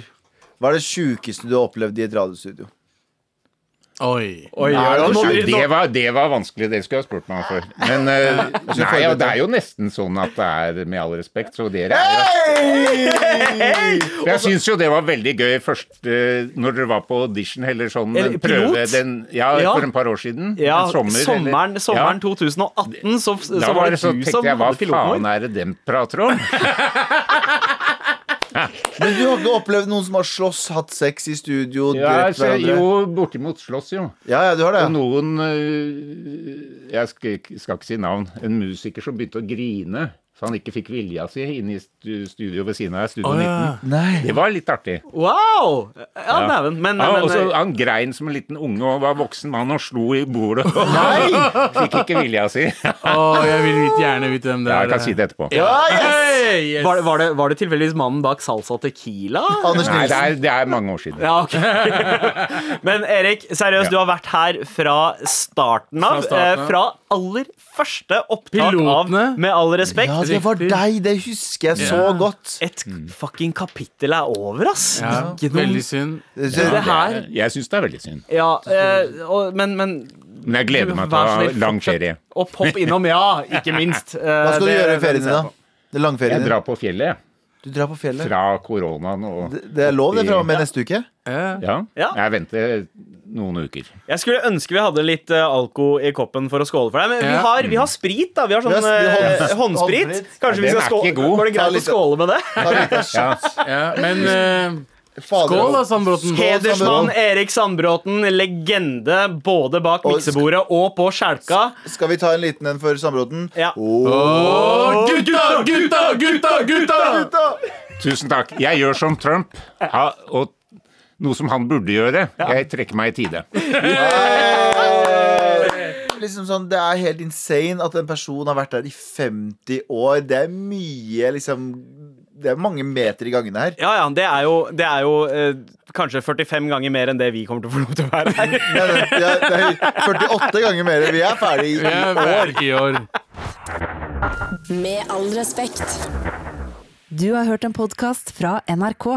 Speaker 3: Hva er det sjukeste du har opplevd i et radiostudio?
Speaker 4: Oi.
Speaker 2: Oi,
Speaker 7: Nei,
Speaker 2: oi, nå-
Speaker 7: nei, det,
Speaker 2: nå-
Speaker 7: var, det var vanskelig, det skulle jeg ha spurt meg om før. Men eh, nei, ja, det er jo nesten sånn at det er med all respekt, så dere er jo For Jeg syns jo det var veldig gøy først eh, når dere var på audition, eller sånn
Speaker 2: Eller
Speaker 7: en prøve
Speaker 2: pilot?
Speaker 7: den, ja,
Speaker 2: Ja.
Speaker 7: for et par år siden.
Speaker 2: Ja,
Speaker 7: en sommer,
Speaker 2: sommeren,
Speaker 7: eller-
Speaker 2: sommeren
Speaker 7: Ja.
Speaker 2: 2018 så, så
Speaker 7: Da
Speaker 2: var det
Speaker 7: så
Speaker 2: du
Speaker 7: tenkte
Speaker 2: som
Speaker 7: jeg, hva
Speaker 2: hadde piloten
Speaker 7: faen
Speaker 2: vår.
Speaker 7: er det dem prater om?
Speaker 3: Men du har ikke opplevd noen som har slåss, hatt sex i studio,
Speaker 7: Ja,
Speaker 3: drept
Speaker 7: så,
Speaker 3: hverandre?
Speaker 7: jo, bortimot slåss, jo.
Speaker 3: Ja, ja, du har det.
Speaker 7: Og noen øh, Jeg skal, ikke- skal ikke si navn. En musiker som begynte å grine så han ikke fikk vilja si inne i stu- studio ved siden av Studio
Speaker 4: Å, ja.
Speaker 7: 19. Det var litt artig.
Speaker 2: Wow! Ja, dæven. Men,
Speaker 7: Ja,
Speaker 2: men, eh,
Speaker 7: og så han grein som en liten unge og var voksen mann og slo i bordet. Fikk ikke vilja si. Ja,
Speaker 4: Å, jeg vil vite, gjerne vite hvem det er.
Speaker 7: jeg kan si det etterpå.
Speaker 4: Hey, yes.
Speaker 2: var, det- var, det, var det tilfeldigvis mannen bak Salsa Tequila?
Speaker 3: Anders
Speaker 7: Nei, det
Speaker 3: Nilsen.
Speaker 7: er, det er mange år siden.
Speaker 2: Ja, ok. Men Erik, seriøst,
Speaker 7: Ja.
Speaker 2: du har vært her fra starten av.
Speaker 4: Fra
Speaker 2: eh,
Speaker 4: starten av.
Speaker 2: Fra aller første opptak
Speaker 4: Pilotene.
Speaker 2: av Med all respekt.
Speaker 3: Ja, Mm. det var deg. Det husker jeg så
Speaker 4: Ja.
Speaker 3: godt.
Speaker 2: Et fucking kapittel er over, ass.
Speaker 4: Ja,
Speaker 2: Ikke noe-
Speaker 4: veldig synd.
Speaker 3: Så-
Speaker 2: Det her
Speaker 7: Jeg syns det er veldig synd.
Speaker 2: Ja, eh, og, men, men
Speaker 7: Men jeg gleder meg til
Speaker 2: Vær så
Speaker 7: å ha
Speaker 2: snill,
Speaker 7: lang
Speaker 2: fortsett.
Speaker 7: ferie.
Speaker 2: Og pop innom, ja. Ikke minst. Eh,
Speaker 3: Hva skal du gjøre i ferien din, da? Det er
Speaker 7: Jeg
Speaker 3: langferien din.
Speaker 7: drar på fjellet jeg.
Speaker 3: Du drar på fjellet.
Speaker 7: fra koronaen og
Speaker 3: Det det er lov, det, fra og med neste uke.
Speaker 4: Eh,
Speaker 7: Ja.
Speaker 2: Ja.
Speaker 7: Jeg venter noen uker.
Speaker 2: Jeg skulle ønske vi hadde litt eh, alko i koppen for å skåle for deg, men vi
Speaker 4: Ja.
Speaker 2: har, vi har sprit, da. Vi har sånn
Speaker 3: Vi har
Speaker 2: eh,
Speaker 3: hånds-
Speaker 2: håndsprit.
Speaker 3: håndsprit.
Speaker 2: Kanskje
Speaker 7: Ja,
Speaker 2: vi
Speaker 7: den
Speaker 2: skal
Speaker 7: er ikke
Speaker 2: skåle
Speaker 7: god.
Speaker 2: Går det
Speaker 3: Ta
Speaker 2: greit å
Speaker 3: litt-
Speaker 2: skåle med det?
Speaker 3: Ta litt av
Speaker 7: Ja.
Speaker 4: ja, men eh,
Speaker 3: Fader,
Speaker 4: skål da,
Speaker 3: altså.
Speaker 4: Sandbråten.
Speaker 2: Hedersmann Erik Sandbråten, legende både bak
Speaker 3: Og-
Speaker 2: miksebordet og på skjelka.
Speaker 3: Skal vi ta en liten en før samråden?
Speaker 2: Ja.
Speaker 4: Å, gutta, gutta, gutta, gutta!
Speaker 7: Tusen takk. Jeg gjør som Trump, ha, og noe som han burde gjøre. Jeg trekker meg i tide.
Speaker 3: Liksom sånn, det er helt insane at en person har vært der i 50 år. Det er mye, liksom Det er mange meter i gangene her.
Speaker 2: Ja, ja, det er jo, det er jo eh, kanskje 45 ganger mer enn det vi kommer til å få lov til å være her.
Speaker 3: Nei, nei, det er- det er 48 ganger mer. Vi er ferdig i
Speaker 4: Vi er ferdig i år.
Speaker 1: Med all respekt.
Speaker 8: Du har hørt en podkast fra NRK.